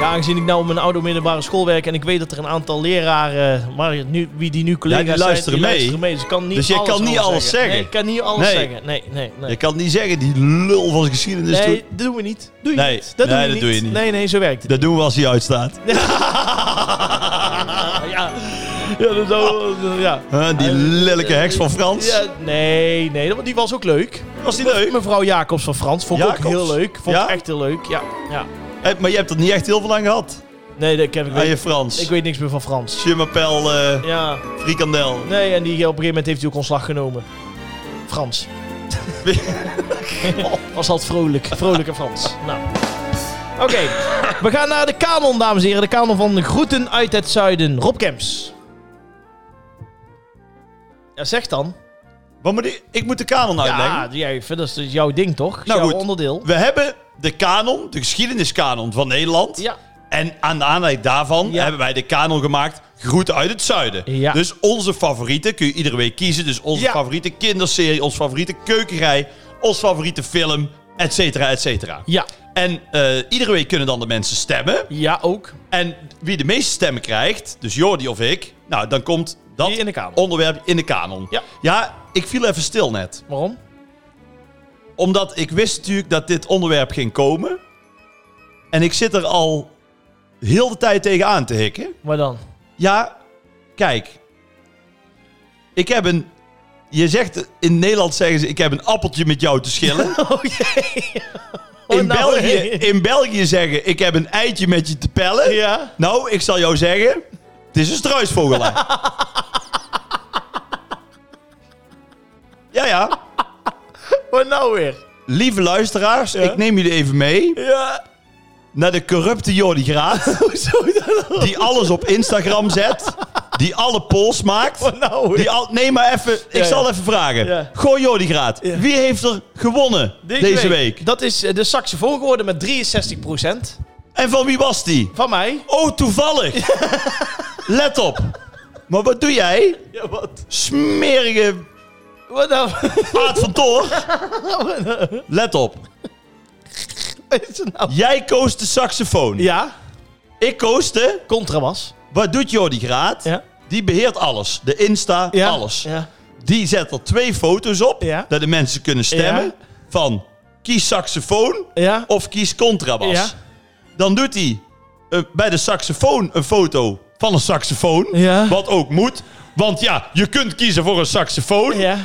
A: Ja, aangezien ik nou op mijn oude middelbare school werk en ik weet dat er een aantal leraren, maar nu, wie die nu collega's zijn,
B: luisteren
A: die
B: mee.
A: luisteren mee. Dus, ik kan niet
B: Dus je
A: alles
B: kan niet
A: over
B: alles zeggen.
A: Nee, ik kan niet alles
B: Nee.
A: zeggen. Nee, nee, nee.
B: Je kan niet zeggen, die lul van zijn geschiedenis.
A: nee,
B: toen-
A: dat doen we niet. Doe je
B: Nee,
A: niet. Dat,
B: nee,
A: doe, je
B: dat
A: niet.
B: doe je niet.
A: Nee, nee, zo werkt het.
B: Dat doen we als hij uitstaat.
A: Ah, ja, ja, dat zou, ja.
B: Huh, die lelijke heks van Frans.
A: Ja, nee, nee, want die was ook leuk.
B: Was die leuk?
A: Mevrouw Jacobs van Frans vond ik ook
B: Jacobs?
A: heel leuk. Vond
B: Ja?
A: ik echt heel leuk, ja. ja.
B: Eh, Maar je hebt er niet echt heel veel aan gehad.
A: Nee, dat ik heb ik,
B: Aan
A: weet-
B: je Frans.
A: ik weet niks meer van Frans.
B: Chimmapel, eh,
A: Ja,
B: frikandel.
A: nee, en die, op een gegeven moment heeft hij ook ontslag genomen.
B: [LAUGHS]
A: Frans. [LAUGHS] Was altijd vrolijk. Vrolijke Frans. Nou. Oké, we gaan naar de kanon, dames en heren. De kanon van de groeten uit het zuiden. Rob Kemps. Ja, zeg dan.
B: Wat moet ik, ik moet de kanon uitleggen.
A: Ja, jij, dat is dus jouw ding toch? Dat is
B: Nou
A: jouw
B: goed.
A: onderdeel.
B: We hebben de kanon, de geschiedeniskanon van Nederland.
A: Ja.
B: En aan de aanleiding daarvan
A: Ja.
B: hebben wij de kanon gemaakt Groeten uit het Zuiden.
A: Ja.
B: Dus onze favorieten kun je iedere week kiezen. Dus onze
A: Ja.
B: favoriete kinderserie, onze favoriete keukenrij, ons favoriete film, et cetera, et cetera.
A: Ja.
B: En eh, iedere week kunnen dan de mensen stemmen.
A: Ja, ook.
B: En wie de meeste stemmen krijgt, dus Jordi of ik, nou dan komt dat
A: Die in de kanon.
B: onderwerp in de kanon.
A: Ja.
B: ja, ik viel even stil net
A: Waarom?
B: omdat ik wist natuurlijk dat dit onderwerp ging komen. En ik zit er al heel de tijd tegenaan te hikken.
A: Maar dan?
B: Ja, kijk. Ik heb een... Je zegt, in Nederland zeggen ze, ik heb een appeltje met jou te
A: [LAUGHS]
B: schillen.
A: [LAUGHS] Oh jee. [LAUGHS] Oh, nou
B: In, België, in België zeggen, ik heb een eitje met je te pellen.
A: Ja.
B: Nou, ik zal jou zeggen, het is een struisvogelij. [LAUGHS] ja, ja.
A: Wat nou weer?
B: Lieve luisteraars, ik neem jullie even mee.
A: Ja.
B: naar de corrupte Jordi
A: [LAUGHS]
B: Graat.
A: Hoezo dan?
B: Die alles op Instagram zet. Die alle polls maakt.
A: Wat nou weer?
B: Die al, nee, maar even. Ik
A: ja.
B: zal even vragen.
A: Ja.
B: Gooi Jordi Graat.
A: Ja.
B: Wie heeft er gewonnen deze, week?
A: Dat is eh, de saxofoon geworden met 63%.
B: En van wie was die?
A: Van mij.
B: Oh, toevallig. [LAUGHS] Let op. Maar wat doe jij?
A: Ja, wat?
B: Smerige
A: Wat nou? [LAUGHS]
B: Aad van Toor. Let op.
A: Wat is er nou?
B: Jij koos de saxofoon.
A: Ja.
B: Ik koos de...
A: Contrabas.
B: Wat doet Jordi Graat?
A: Ja.
B: Die beheert alles. De Insta,
A: ja.
B: alles.
A: Ja.
B: Die zet er twee foto's op.
A: Ja.
B: Dat de mensen kunnen stemmen.
A: Ja.
B: Van kies saxofoon
A: Ja.
B: of kies contrabas.
A: Ja.
B: Dan doet hij eh, bij de saxofoon een foto van een saxofoon.
A: Ja.
B: Wat ook moet. Want ja, je kunt kiezen voor een saxofoon.
A: Ja.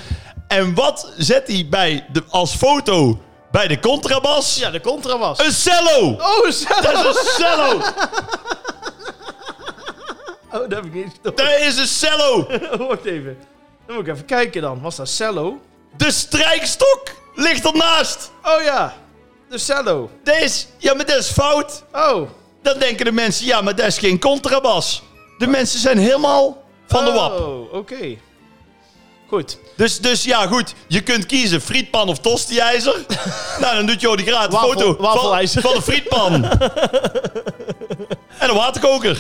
B: En wat zet hij bij de, als foto bij de contrabas?
A: Ja, de contrabas.
B: Een cello!
A: Oh, zo.
B: Dat is een cello!
A: Oh, dat heb ik niet [LAUGHS] gestopt.
B: Dat is een cello!
A: Wacht even. Dan moet ik even kijken dan. Was dat cello?
B: De strijkstok ligt ernaast!
A: Oh ja. De cello.
B: Dat is, ja, maar dat is fout.
A: Oh.
B: Dan denken de mensen, ja, maar dat is geen contrabas. De mensen zijn helemaal van de wap.
A: Oh, oké. Goed.
B: Dus, dus ja, goed, je kunt kiezen frietpan of
A: [LAUGHS]
B: tostijzer. nou, dan doet Jordi Graat een
A: Wafel-
B: foto van,
A: wafelijzer.
B: van een
A: [LAUGHS]
B: frietpan. en een waterkoker.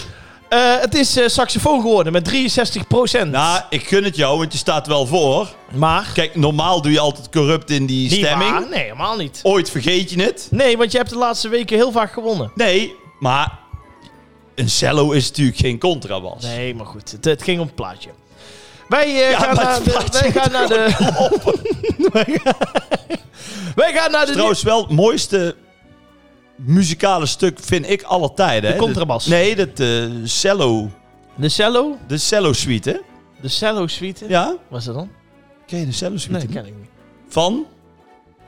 A: Eh, het is eh, saxofoon geworden met 63
B: Nou, ik gun het jou, want je staat wel voor.
A: maar...
B: Kijk, normaal doe je altijd corrupt in die
A: Niet
B: stemming.
A: waar. Nee, helemaal niet.
B: Ooit vergeet je het.
A: Nee, want je hebt de laatste weken heel vaak gewonnen.
B: Nee, maar een cello is natuurlijk geen contrabas.
A: Nee, maar goed. Het, het ging om het plaatje. Wij, eh, gaan,
B: maar
A: naar
B: het
A: de,
B: plaatje
A: wij gaan naar de... [LAUGHS] Wij gaan- wij gaan naar de...
B: Trouwens, wel het mooiste muzikale stuk vind ik alle tijden.
A: De
B: hè.
A: contrabas.
B: Dat- nee, dat eh, cello.
A: De cello.
B: De cello suite, hè?
A: De cello suite.
B: Ja?
A: Was dat dan?
B: Ken je de cello suite?
A: Nee, dat ken ik niet.
B: Van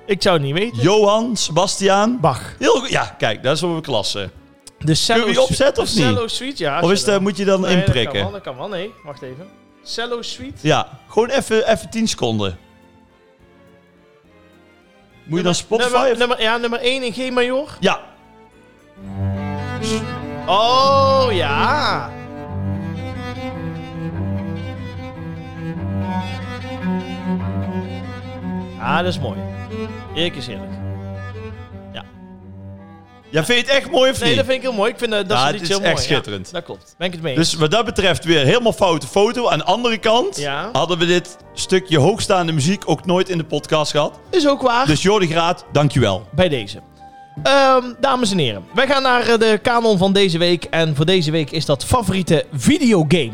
A: Ik zou het niet weten.
B: Johan, Sebastiaan.
A: Bach.
B: Heel goed. Ja, kijk, dat is wel een klasse.
A: De cello
B: Kun je die
A: su-
B: opzetten of
A: de
B: niet?
A: cello suite, ja. als
B: Of
A: je
B: is eh, dat,
A: dan-
B: moet je dan
A: Nee, Dat kan
B: inprikken?
A: wel, dat kan wel. Nee, wacht even. Cello suite.
B: ja, gewoon even, even 10 seconden. Moet je dan Spotify?
A: Nummer,
B: of-
A: nummer, ja, nummer 1 in G-major.
B: Ja.
A: Oh, ja. Ah, dat is mooi. Eerlijk is eerlijk. Ja.
B: Ja, vind je het echt mooi of
A: Nee,
B: niet?
A: dat vind ik heel mooi. Ik vind eh, dat
B: Ja,
A: ze
B: het
A: dit
B: is
A: heel
B: echt
A: mooi. Ja,
B: schitterend.
A: dat klopt. Ben ik het mee. eens.
B: Dus wat dat betreft weer helemaal foute foto. Aan de andere kant
A: Ja.
B: hadden we dit stukje hoogstaande muziek ook nooit in de podcast gehad.
A: is ook waar.
B: Dus Jordi Graat, dankjewel.
A: bij deze. Ehm, dames en heren, wij gaan naar eh, de kanon van deze week. En voor deze week is dat favoriete videogame.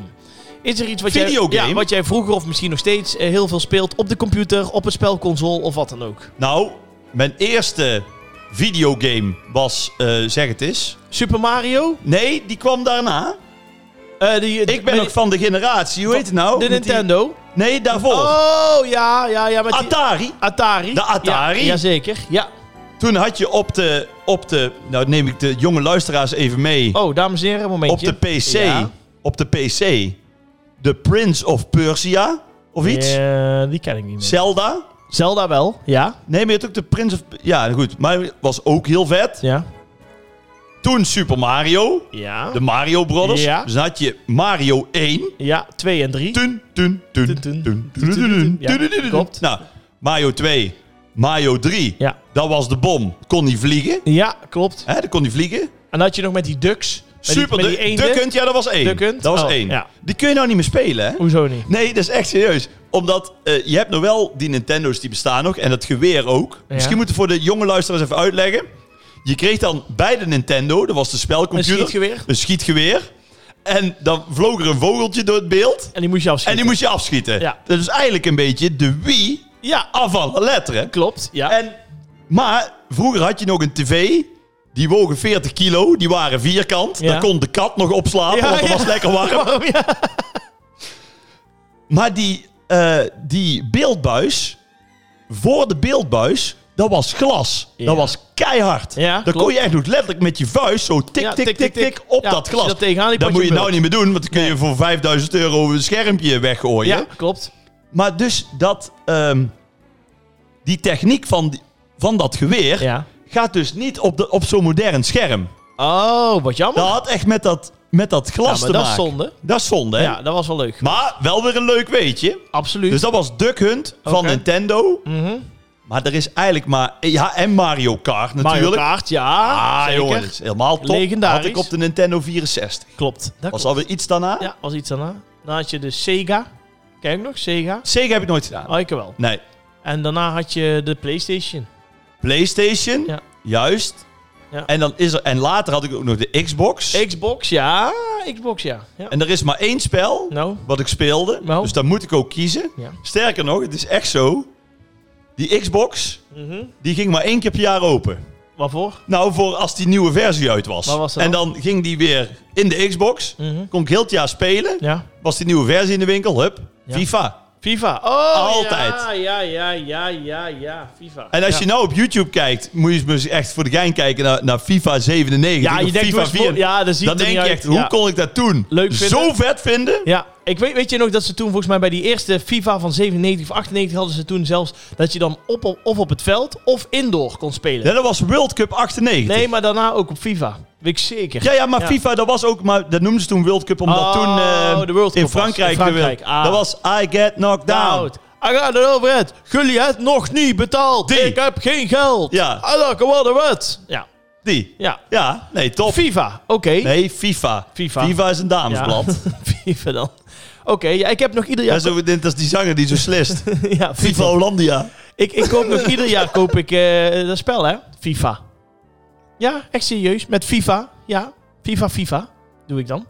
A: Is er iets wat, Jij,
B: Videogame?
A: ja, wat jij vroeger of misschien nog steeds eh, heel veel speelt op de computer, op een spelconsole of wat dan ook?
B: Nou, mijn eerste videogame was eh, Zeg Het Is.
A: Super Mario?
B: Nee, die kwam daarna.
A: Eh, die,
B: Ik ben
A: met-
B: ook van de generatie, hoe heet het nou?
A: De
B: Met die-
A: Nintendo?
B: Nee, daarvoor.
A: Oh, ja, ja, ja. Met die-
B: Atari.
A: Atari.
B: De Atari?
A: Ja, jazeker, ja.
B: Toen had je op de, op de... Nou, neem ik de jonge luisteraars even mee.
A: Oh, dames en heren, een
B: op
A: momentje.
B: de PC.
A: Ja.
B: Op de PC. The Prince of Persia. Of iets.
A: Eh, die ken ik niet meer.
B: Zelda.
A: Zelda wel, ja.
B: Nee, maar je had ook de Prince of... Ja, goed. Maar was ook heel vet.
A: Ja.
B: Toen Super Mario.
A: Ja.
B: De Mario Brothers.
A: Ja.
B: Dus dan had je Mario 1.
A: Ja, 2 en 3.
B: Tun, tun, tun, tun, tun, tun, tun,
A: Ja,
B: tun, tun.
A: klopt.
B: Nou, Mario 2. Mario 3.
A: Ja.
B: Dat was de bom. Kon niet vliegen.
A: Ja, klopt.
B: Hè, dat kon niet vliegen.
A: En dan had je nog met die ducks. Met
B: Super,
A: die, met die
B: de,
A: eenden.
B: Duckhunt, ja, dat was één.
A: Duckhunt?
B: Dat was
A: Oh,
B: één.
A: ja.
B: Die kun je nou niet meer spelen, hè?
A: Hoezo niet?
B: Nee, dat is echt serieus. Omdat eh, je hebt nog wel die Nintendo's die bestaan nog. En dat geweer ook.
A: Ja.
B: Misschien moeten we voor de jonge luisteraars even uitleggen. Je kreeg dan bij de Nintendo, dat was de spelcomputer.
A: Een schietgeweer.
B: Een schietgeweer. En dan vloog er een vogeltje door het beeld.
A: En die moest je
B: En
A: afschieten.
B: die moest je afschieten.
A: Ja.
B: Dat is eigenlijk een beetje de Wii
A: Ja,
B: af alle letteren.
A: klopt. Ja.
B: En, maar vroeger had je nog een tv. Die wogen 40 kilo. Die waren vierkant.
A: Ja.
B: Daar kon de kat nog op slapen,
A: Ja,
B: want het
A: ja.
B: was lekker
A: [LAUGHS]
B: warm.
A: Waarom? Ja.
B: Maar die, eh, die beeldbuis, voor de beeldbuis, dat was glas.
A: Ja.
B: Dat was keihard.
A: Ja,
B: dan
A: klopt.
B: kon je echt nog letterlijk met je vuist zo tik,
A: Ja,
B: tik, tik, tik, op
A: Ja,
B: dat
A: als je
B: glas.
A: dat tegenaan liep,
B: dat
A: had
B: moet
A: je
B: je nou
A: een
B: niet meer doen, want dan kun je voor 5000 euro een schermpje weggooien.
A: ja, klopt.
B: Maar dus dat, ehm, die techniek van, die- van dat geweer
A: Ja.
B: gaat dus niet op, de- op zo'n modern scherm.
A: Oh, wat jammer.
B: Dat had echt met dat, met dat
A: ja,
B: glas
A: maar
B: te
A: dat is
B: maken.
A: zonde.
B: Dat is zonde, hè?
A: Ja, dat was wel leuk.
B: Maar wel weer een leuk weetje.
A: Absoluut.
B: Dus dat was Duck Hunt van
A: Oké.
B: Nintendo.
A: Mhm.
B: Maar er is eigenlijk maar... Ja, en Mario Kart natuurlijk.
A: Mario Kart, ja.
B: Ah,
A: zeker.
B: jongens. Helemaal top.
A: Legendarisch.
B: Had ik op de Nintendo 64.
A: Klopt. Dat
B: Was
A: klopt.
B: alweer iets daarna.
A: Ja, was iets daarna. Dan had je de Sega. Kijk nog, Sega.
B: Sega heb ik nooit gedaan.
A: Oh, ik wel.
B: Nee.
A: En daarna had je de PlayStation.
B: Playstation.
A: Ja.
B: Juist.
A: Ja.
B: En, dan is er, en later had ik ook nog de Xbox.
A: Xbox, ja. Xbox, ja. ja.
B: en er is maar één spel
A: Nou,
B: wat ik speelde.
A: Nou.
B: Dus daar moet ik ook kiezen.
A: ja.
B: Sterker nog, het is echt zo. Die Xbox,
A: Mhm.
B: die ging maar één keer per jaar open.
A: Waarvoor?
B: Nou, voor als die nieuwe versie uit was.
A: Waar was dat
B: en dan ging die weer in de Xbox.
A: Mhm.
B: Kon ik heel het jaar spelen.
A: Ja.
B: Was die nieuwe versie in de winkel. Hup,
A: Ja.
B: FIFA.
A: FIFA. Oh,
B: Altijd.
A: Ja, ja, ja, ja, ja, ja. FIFA.
B: En als je nou op YouTube kijkt, moet je eens echt voor de gein kijken naar, naar FIFA 97.
A: ja,
B: of
A: je denkt
B: FIFA
A: FIFA
B: 4.
A: Ja, dat ziet
B: dan
A: er
B: denk
A: niet
B: je
A: uit.
B: echt, hoe
A: ja.
B: kon ik dat toen
A: Leuk vinden.
B: zo vet vinden?
A: Ja, ik weet, weet je nog dat ze toen volgens mij bij die eerste FIFA van 97 of 98 hadden ze toen zelfs dat je dan op, op- of op het veld of indoor kon spelen.
B: Ja, dat was World Cup 98.
A: nee, maar daarna ook op FIFA. Weet ik zeker.
B: Ja, ja, maar
A: Ja.
B: FIFA, dat was ook, maar dat noemden ze toen World Cup, omdat
A: Oh,
B: toen eh,
A: de World Cup
B: in
A: was.
B: Frankrijk,
A: In Frankrijk,
B: de
A: ah. Nou,
B: dat was I get knocked down.
A: Down. I got it over it. Jullie het nog niet betaald.
B: Die.
A: Ik heb geen geld.
B: Ja.
A: I don't know what what. Ja.
B: Die.
A: Ja.
B: Ja, nee, top.
A: FIFA. Oké.
B: Nee, FIFA.
A: FIFA.
B: is een damesblad.
A: [LAUGHS] FIFA dan. Oké, ja, ik heb nog ieder
B: Ja,
A: jaar...
B: zo, dit is die zanger die zo slist.
A: [LAUGHS] ja,
B: FIFA Hollandia.
A: Ik, ik koop nog ieder jaar koop ik eh, dat spel, hè? FIFA. Ja, echt serieus. Met FIFA. Ja, FIFA, FIFA. Doe ik dan.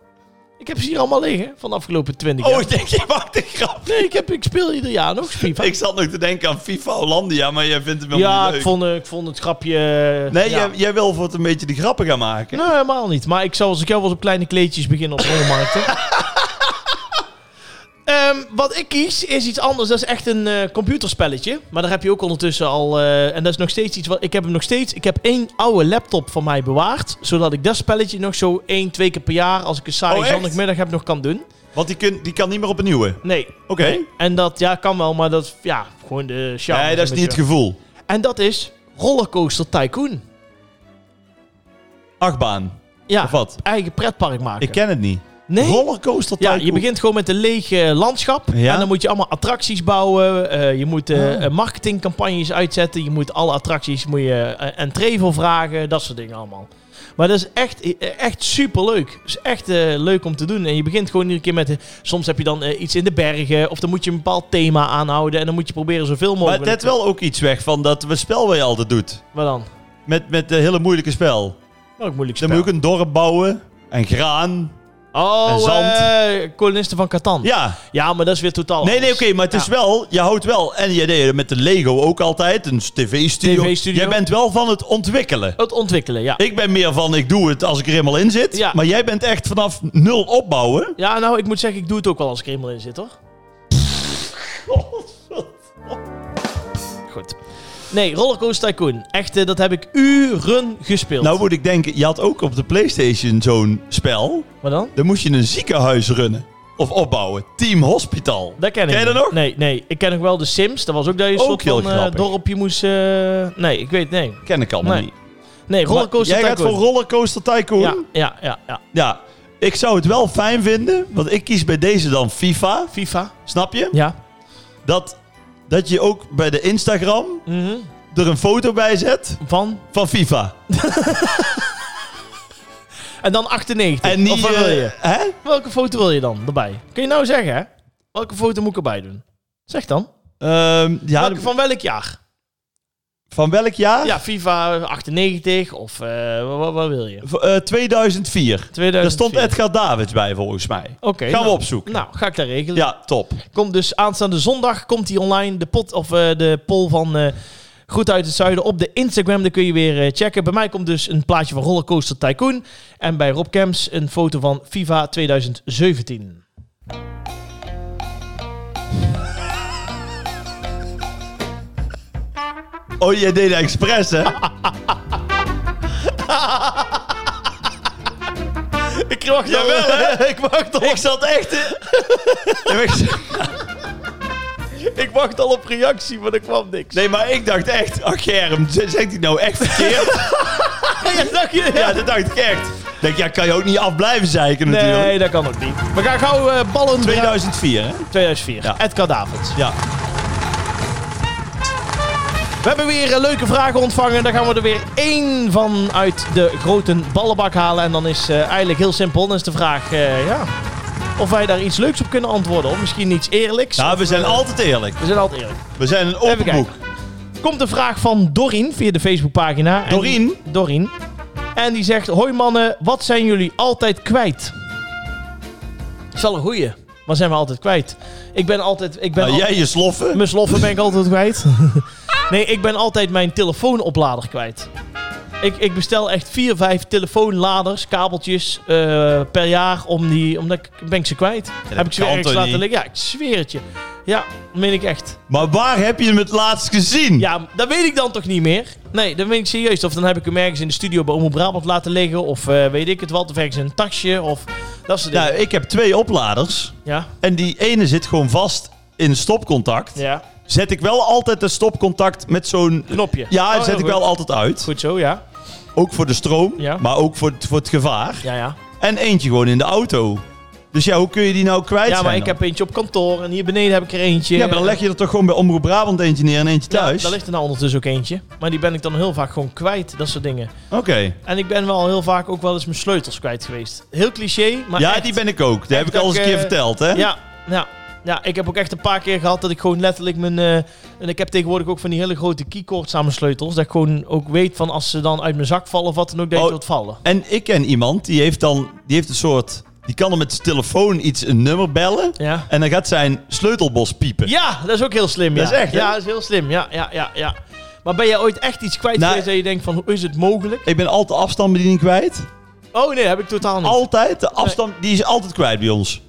A: Ik heb ze hier allemaal liggen van de afgelopen 20 jaar.
B: Oh, ik denk, je maakt een grap.
A: Nee, ik, heb, ik speel ieder jaar nog FIFA.
B: Ik zat nog te denken aan FIFA Hollandia, maar jij vindt het wel
A: ja,
B: niet leuk.
A: ik vond, eh, ik vond het grapje...
B: Nee,
A: ja. Nou.
B: jij, jij wil voor het een beetje de grappen gaan maken.
A: Nee, helemaal niet. Maar ik zou als ik jou was op kleine kleedjes beginnen op
B: [LAUGHS]
A: rommelmarkten. Ehm, wat ik kies is iets anders. Dat is echt een eh, computerspelletje. Maar daar heb je ook ondertussen al. eh, en dat is nog steeds iets wat. Ik heb hem nog steeds. Ik heb één oude laptop van mij bewaard. Zodat ik dat spelletje nog zo één, twee keer per jaar. Als ik een
B: Oh,
A: saaie
B: echt?
A: zondagmiddag heb, nog kan doen.
B: Want die, kun, die kan niet meer op een nieuwe. Oké.
A: Nee. En dat, ja, kan wel. Maar dat, ja, gewoon de charme.
B: Nee,
A: is
B: dat is
A: een
B: niet het
A: beetje-
B: gevoel.
A: En dat is Rollercoaster Tycoon.
B: Achtbaan.
A: Ja.
B: Of wat?
A: Eigen pretpark maken.
B: Ik ken het niet.
A: Nee.
B: Rollercoaster
A: Ja, je
B: tycoon.
A: begint gewoon met een leeg eh, landschap.
B: Ja. Ah.
A: En dan moet je allemaal attracties bouwen. Eh, je moet eh, eh, marketingcampagnes uitzetten. Je moet alle attracties moet je eh, entree voor vragen. Dat soort dingen allemaal. Maar dat is echt, eh, echt superleuk. Het is echt eh, leuk om te doen. En je begint gewoon iedere keer met... eh, soms heb je dan eh, iets in de bergen. Of dan moet je een bepaald thema aanhouden. En dan moet je proberen zoveel mogelijk...
B: Maar dat wel ook iets weg van dat we spel wat je altijd doet.
A: Wat dan?
B: Met, met een hele moeilijke spel.
A: Welk moeilijk
B: Dan
A: spel.
B: moet je ook een dorp bouwen. En graan.
A: Oh,
B: en zand.
A: eh, kolonisten van Catan. Ja.
B: Ja.
A: maar dat is weer totaal
B: Nee, nee,
A: anders.
B: oké, maar het is
A: Oh. Ja.
B: wel, je houdt wel, en je deed het met de Lego ook altijd, een tv-studio.
A: TV-studio.
B: Jij bent wel van het ontwikkelen.
A: Het ontwikkelen, ja.
B: Ik ben meer van, ik doe het als ik er helemaal in zit.
A: Ja.
B: Maar jij bent echt vanaf nul opbouwen.
A: Ja, nou, ik moet zeggen, ik doe het ook wel als ik er helemaal in zit, hoor. Oh, Goed. Nee, Rollercoaster Tycoon. Echt, eh, dat heb ik uren gespeeld.
B: Nou moet ik denken, je had ook op de Playstation zo'n spel.
A: Wat dan?
B: Dan moest je een ziekenhuis runnen. Of opbouwen. Team Hospital.
A: Dat ken ik
B: Ken je
A: niet.
B: dat nog?
A: Nee, nee. Ik ken ook wel de Sims. Dat was ook dat je een
B: Ook
A: soort
B: heel
A: van eh,
B: grappig.
A: dorpje moest... eh, Nee, ik weet nee.
B: Ken ik allemaal
A: Nee.
B: niet.
A: Nee, Rollercoaster
B: jij gaat
A: Tycoon.
B: voor Rollercoaster Tycoon?
A: ja, ja, ja, ja.
B: Ja. Ik zou het wel fijn vinden, want ik kies bij deze dan FIFA.
A: FIFA.
B: Snap je?
A: Ja.
B: Dat, dat je ook bij de Instagram
A: Mhm.
B: er een foto bij zet
A: Van...
B: van FIFA.
A: En dan 98.
B: En niet...
A: Of wat
B: eh,
A: wil je?
B: hè?
A: Welke foto wil je dan erbij? Kun je nou zeggen, hè? Welke foto moet ik erbij doen? Zeg dan.
B: Ehm, ja, Ah.
A: Welke, van welk jaar?
B: van welk jaar?
A: Ja, FIFA 98 of eh, wat, wat wil je?
B: V- eh, 2004.
A: 2004.
B: Daar stond Edgar Davids bij volgens mij.
A: Oké.
B: Gaan we
A: nou,
B: opzoeken.
A: Nou, ga ik dat regelen.
B: Ja, top.
A: Komt dus aanstaande zondag komt die online de pot of eh, de poll van eh, Goed uit het Zuiden op de Instagram. Dan kun je weer eh, checken. Bij mij komt dus een plaatje van Rollercoaster Tycoon en bij Rob Kems een foto van FIFA 2017.
B: Oh, jij deed dat expres, hè?
A: Ik wacht
B: Jawel,
A: [LAUGHS]
B: hè?
A: [LAUGHS] ik wacht al.
B: ik zat echt... eh, ik zat-
A: Ik wacht al op reactie, maar er kwam niks.
B: nee, maar ik dacht echt... Ach, Germ, z- zegt hij nou echt
A: [LAUGHS]
B: verkeerd? ja, dat dacht ik echt. Ik denk, ja, kan je ook niet af blijven zeiken natuurlijk.
A: Nee, dat kan ook niet. We gaan gauw eh, ballen...
B: 2004, hè?
A: 2004.
B: Ja.
A: Edgar Davids.
B: Ja.
A: We hebben weer eh, leuke vragen ontvangen. Daar gaan we er weer één van uit de grote ballenbak halen. En dan is eh, eigenlijk heel simpel. Dan is de vraag eh, ja, of wij daar iets leuks op kunnen antwoorden. Of misschien iets eerlijks.
B: Nou, we zijn altijd eerlijk.
A: We zijn altijd eerlijk.
B: We zijn een
A: Even
B: open
A: kijken.
B: boek.
A: Komt een vraag van Dorien via de Facebookpagina. En-
B: Dorien?
A: Dorien. En die zegt, hoi mannen, wat zijn jullie altijd kwijt? Dat is wel een goeie. Wat zijn we altijd kwijt? Ik ben altijd... Ik ben
B: Nou,
A: al-
B: jij je sloffen.
A: Mijn sloffen ben ik altijd kwijt. Nee, ik ben altijd mijn telefoonoplader kwijt. Ik, ik bestel echt vier, vijf telefoonladers, kabeltjes eh, per jaar. Om die, omdat ik, ben ik ze kwijt. Heb ik ze weer
B: kan
A: ergens
B: toch
A: laten
B: niet?
A: liggen. Ja, ik zweer het je. Ja, meen ik echt.
B: Maar waar heb je hem het laatst gezien?
A: Ja, dat weet ik dan toch niet meer? Nee, dat weet ik serieus. Of dan heb ik hem ergens in de studio bij Omroep Brabant laten liggen. Of eh, weet ik het wel, of ergens in een tasje. Of dat soort dingen.
B: Nou, ik heb twee opladers.
A: Ja,
B: En die ene zit gewoon vast in stopcontact.
A: ja.
B: Zet ik wel altijd de stopcontact met zo'n...
A: Knopje.
B: Ja,
A: Oh,
B: zet
A: heel
B: ik wel
A: goed.
B: altijd uit.
A: Goed zo, ja.
B: Ook voor de stroom,
A: Ja.
B: maar ook voor het, voor het gevaar.
A: Ja, ja.
B: En eentje gewoon in de auto. Dus ja, hoe kun je die nou kwijt
A: Ja, maar
B: zijn
A: ik
B: dan?
A: heb eentje op kantoor. En hier beneden heb ik er eentje.
B: Ja, maar dan leg je er toch gewoon bij Omroep Brabant eentje neer en eentje thuis?
A: Ja, daar ligt er nou ondertussen ook eentje. Maar die ben ik dan heel vaak gewoon kwijt, dat soort dingen.
B: Oké.
A: En ik ben wel heel vaak ook wel eens mijn sleutels kwijt geweest. Heel cliché, maar
B: Ja,
A: echt.
B: die ben ik ook. Die heb ik
A: dat
B: al eens een
A: ik,
B: keer
A: eh,
B: verteld, hè?
A: Ja, ja, ja, ik heb ook echt een paar keer gehad dat ik gewoon letterlijk mijn... eh, en ik heb tegenwoordig ook van die hele grote keycords aan mijn sleutels. Dat ik gewoon ook weet van als ze dan uit mijn zak vallen of wat dan ook, dat je
B: Oh.
A: het wilt vallen.
B: En ik ken iemand die heeft dan, die heeft een soort, die kan dan met zijn telefoon iets een nummer bellen
A: Ja.
B: en dan gaat zijn sleutelbos piepen.
A: Ja, dat is ook heel slim. Ja.
B: Dat is echt, hè?
A: Ja, dat is heel slim. Ja, ja, ja, ja. Maar ben jij ooit echt iets kwijt
B: Nou-
A: geweest dat je denkt van, hoe is het mogelijk?
B: Ik ben altijd de afstandsbediening kwijt.
A: Oh nee, heb ik totaal niet.
B: Altijd. De afstand, die is altijd kwijt bij ons.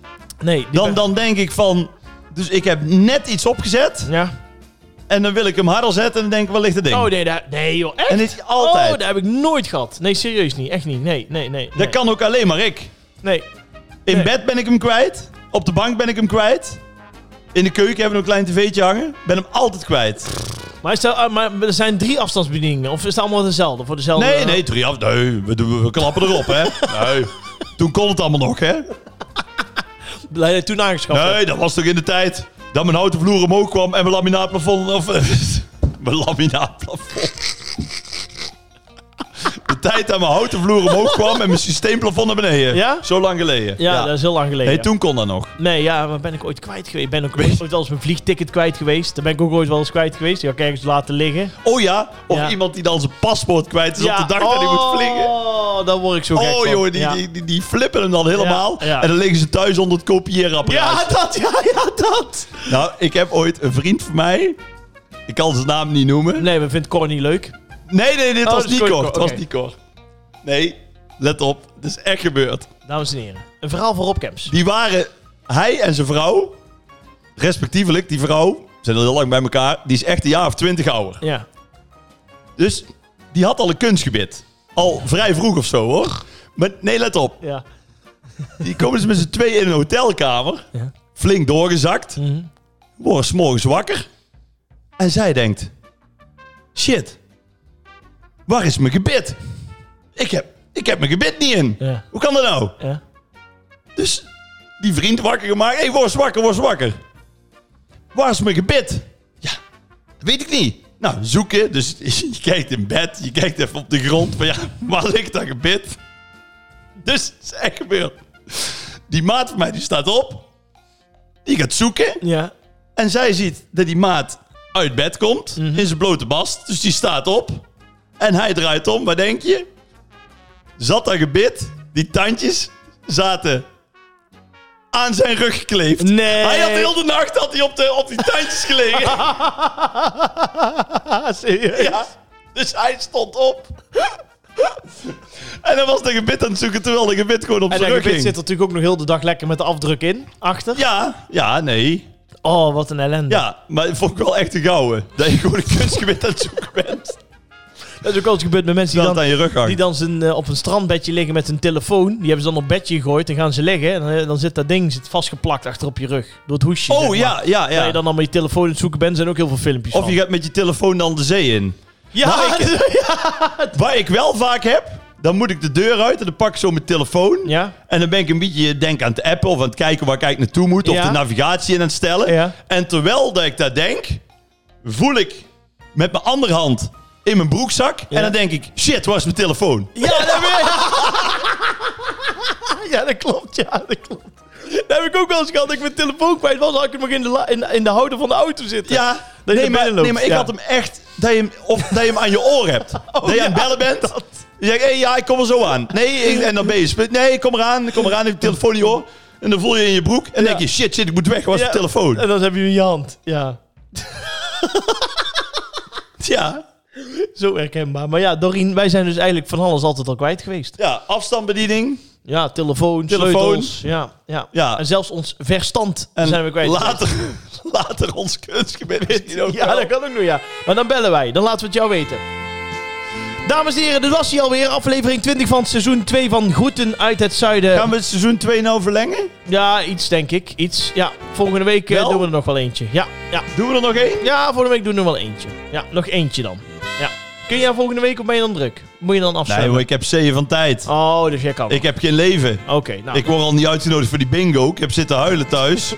A: nee, die
B: Dan,
A: ben-
B: dan denk ik van, dus ik heb net iets opgezet
A: Ja.
B: en dan wil ik hem harder zetten en dan denk ik, waar ligt het ding?
A: Oh nee, daar, nee joh, echt?
B: En dit is altijd.
A: Oh, dat heb ik nooit gehad. Nee, serieus niet. Echt niet. Nee, nee, nee. nee.
B: Dat kan ook alleen maar ik.
A: Nee.
B: In
A: Nee.
B: bed ben ik hem kwijt. Op de bank ben ik hem kwijt. In de keuken hebben we een klein tv'tje hangen. Ben hem altijd kwijt.
A: Maar, is dat, ah, maar er zijn drie afstandsbedieningen. Of is het allemaal dezelfde? Voor dezelfde... [LAUGHS]
B: Nee, nee, drie af. Nee, we, doen- we klappen erop, hè. Nee. Toen kon het allemaal nog, hè.
A: Blij dat je toen aangeschaft hebt.
B: Nee, dat was toch in de tijd dat mijn houten vloer omhoog kwam en mijn laminaatplafond... Of, [LAUGHS] eh, mijn laminaatplafond. [LAUGHS] De tijd dat mijn houten vloer omhoog kwam en mijn systeemplafond naar beneden.
A: Ja?
B: Zo lang geleden.
A: Ja, dat is heel lang geleden.
B: Nee, toen kon dat nog.
A: Nee, ja, maar ben ik ooit kwijt geweest. Ik ben ook ooit wel eens mijn vliegticket kwijt geweest. Daar ben ik ook ooit wel eens kwijt geweest. Die had ik ergens laten liggen.
B: Oh ja, of
A: Ja.
B: iemand die dan zijn paspoort kwijt is op de dag dat hij moet vliegen.
A: Oh, daar word ik zo gek
B: Oh
A: van.
B: joh, die,
A: Ja.
B: die, die, die flippen hem dan helemaal.
A: ja.
B: En dan liggen ze thuis onder het kopieerapparaat.
A: Ja, dat, ja, ja, dat.
B: Nou, ik heb ooit een vriend van mij. Ik kan zijn naam niet noemen.
A: Nee, we vinden Cor niet leuk.
B: Nee, nee, dit
A: Oh,
B: was
A: dat is
B: niet kort.
A: Cor,
B: Het
A: oké.
B: was niet kort. Nee, let op. Het is echt gebeurd.
A: Dames en heren, een verhaal voor Robcamps.
B: Die waren, hij en zijn vrouw, respectievelijk, die vrouw, zijn al heel lang bij elkaar. Die is echt een jaar of twintig ouder.
A: Ja.
B: Dus die had al een kunstgebit. Al vrij vroeg of zo hoor. Maar nee, let op.
A: Ja.
B: Die komen ze met z'n tweeën in een hotelkamer.
A: Ja.
B: Flink doorgezakt. Worden s'morgens wakker. En zij denkt... Shit. Waar is mijn gebit? Ik heb, ik heb mijn gebit niet in.
A: Ja.
B: Hoe kan dat nou?
A: Ja.
B: Dus die vriend wakker gemaakt. Hé, hey, word eens wakker, word eens wakker. Waar is mijn gebit? Ja, dat weet ik niet. Nou, zoeken. Dus [LAUGHS] je kijkt in bed, je kijkt even op de grond. Van ja, waar ligt dat gebit? Dus het is echt gebeurd. Die maat van mij die staat op. Die gaat zoeken.
A: Ja.
B: En zij ziet dat die maat uit bed komt.
A: Mhm.
B: In zijn blote bast. Dus die staat op. En hij draait om. Wat denk je? Zat dat gebit. Die tandjes zaten aan zijn rug gekleefd.
A: Nee.
B: Hij had heel de nacht had hij op, de, op die tandjes
A: [LAUGHS]
B: gelegen.
A: Ah, serieus?
B: ja. Dus hij stond op. en dan was de gebit aan het zoeken terwijl de gebit gewoon op
A: En
B: zijn
A: dat
B: rug
A: gebit
B: ging.
A: zit natuurlijk ook nog heel de dag lekker met de afdruk in. Achter.
B: Ja, ja, nee.
A: Oh, wat een ellende.
B: Ja, maar dat vond ik wel echt een gouden. Dat je gewoon een kunstgebit aan het zoeken bent.
A: Dat is ook wel eens gebeurd met mensen
B: Die
A: die
B: dat
A: dan,
B: aan je rug hangt.
A: die dan zijn, eh, op een strandbedje liggen met hun telefoon. Die hebben ze dan op bedje gegooid en gaan ze liggen. En eh, dan zit dat ding zit vastgeplakt achter op je rug. Door het hoesje. zeg
B: Oh
A: maar.
B: ja, ja,
A: Dat
B: ja.
A: je dan al met je telefoon aan het zoeken bent, zijn ook heel veel filmpjes
B: Of
A: van.
B: je gaat met je telefoon dan de zee in.
A: Ja,
B: Maar Waar ik wel vaak heb, dan moet ik de deur uit en dan pak ik zo mijn telefoon.
A: ja.
B: En dan ben ik een beetje, denk aan het appen of aan het kijken waar ik eigenlijk naartoe moet. Of
A: Ja.
B: de navigatie in aan het stellen.
A: Ja.
B: En terwijl dat ik dat denk, voel ik met mijn andere hand in mijn broekzak. En dan denk ik, shit, waar is mijn telefoon?
A: [LAUGHS] Ja, dat weet [LAUGHS] Ja, dat klopt. Ja, dat klopt. Dat heb ik ook wel eens gehad. dat Ik mijn telefoon kwijt was, had ik hem nog in de, la- in, in de houder van de auto zitten.
B: Ja,
A: je
B: nee,
A: naar
B: maar,
A: binnen loopt,
B: nee, maar ik
A: ja. Oh,
B: had hem echt. Dat je hem, of dat je hem aan je oor
A: [LAUGHS]
B: hebt. dat je aan het bellen bent. Je zegt, hey, ja, ik kom er zo aan. Nee,
A: [LAUGHS]
B: ik- en dan ben je. sp- Nee, ik kom eraan, ik kom eraan, ik heb de telefoon in je oor. En dan voel je in je broek. En dan denk je, shit, shit, ik moet weg, waar
A: [LAUGHS]
B: is
A: Ja.
B: de telefoon?
A: En dan heb je hem in je hand. Ja,
B: Ja.
A: zo herkenbaar. Maar ja, Dorien, wij zijn dus eigenlijk van alles altijd al kwijt geweest.
B: ja, afstandsbediening.
A: Ja, telefoon,
B: Telefoon.
A: sleutels. Ja, ja.
B: Ja.
A: En zelfs ons verstand
B: En
A: zijn we kwijt. geweest.
B: Later, [LAUGHS] later ons kunstgebied misschien ook.
A: Ja,
B: wel.
A: dat kan ook nog, ja. Maar dan bellen wij. Dan laten we het jou weten. Dames en heren, dit was hij alweer. Aflevering 20 van seizoen 2 van Groeten uit het Zuiden.
B: Gaan we het seizoen 2 nou verlengen?
A: Ja, iets denk ik. Iets. Ja, volgende week eh,
B: Wel?
A: doen we er nog wel eentje. Ja, ja.
B: Doen we er nog één?
A: Ja, volgende week doen we er wel eentje. Ja, nog eentje dan. Ja. Kun jij volgende week of ben je dan druk? Moet je dan
B: Nee
A: afsluiten?
B: hoor, ik heb zeeën van tijd.
A: Oh, dus jij kan.
B: Ik heb geen leven.
A: Oké, nou.
B: Ik word al niet uitgenodigd voor die bingo. Ik heb zitten huilen
A: [LAUGHS]
B: thuis.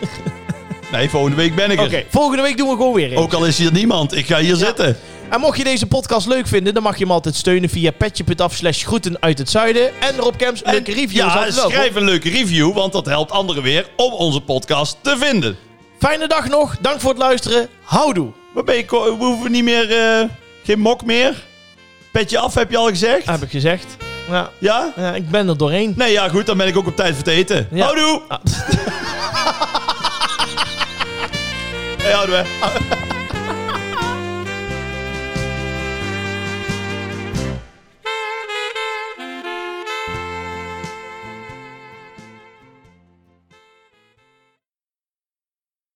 B: Nee, volgende week ben ik er.
A: Oké, volgende week doen we gewoon weer een.
B: Ook al is hier niemand, ik ga hier zitten.
A: En mocht je deze podcast leuk vinden, dan mag je hem altijd steunen via petje.af slash groeten uit het zuiden. En Rob Camps, een leuke review. is
B: Ja,
A: altijd welkom.
B: schrijf een leuke review, want dat helpt anderen weer om onze podcast te vinden.
A: Fijne dag nog. Dank voor het luisteren. Houdoe.
B: Maar ben je, ko- we hoeven niet meer, eh, geen mok meer. Petje af, heb je al gezegd?
A: Heb ik gezegd. Ja,
B: Ja?
A: ja, ik ben er doorheen.
B: Nee, ja, goed, dan ben ik ook op tijd voor het eten.
A: Ja.
B: Houdoe!
A: Ah.
B: [LAUGHS] Hey, houdoe. hè.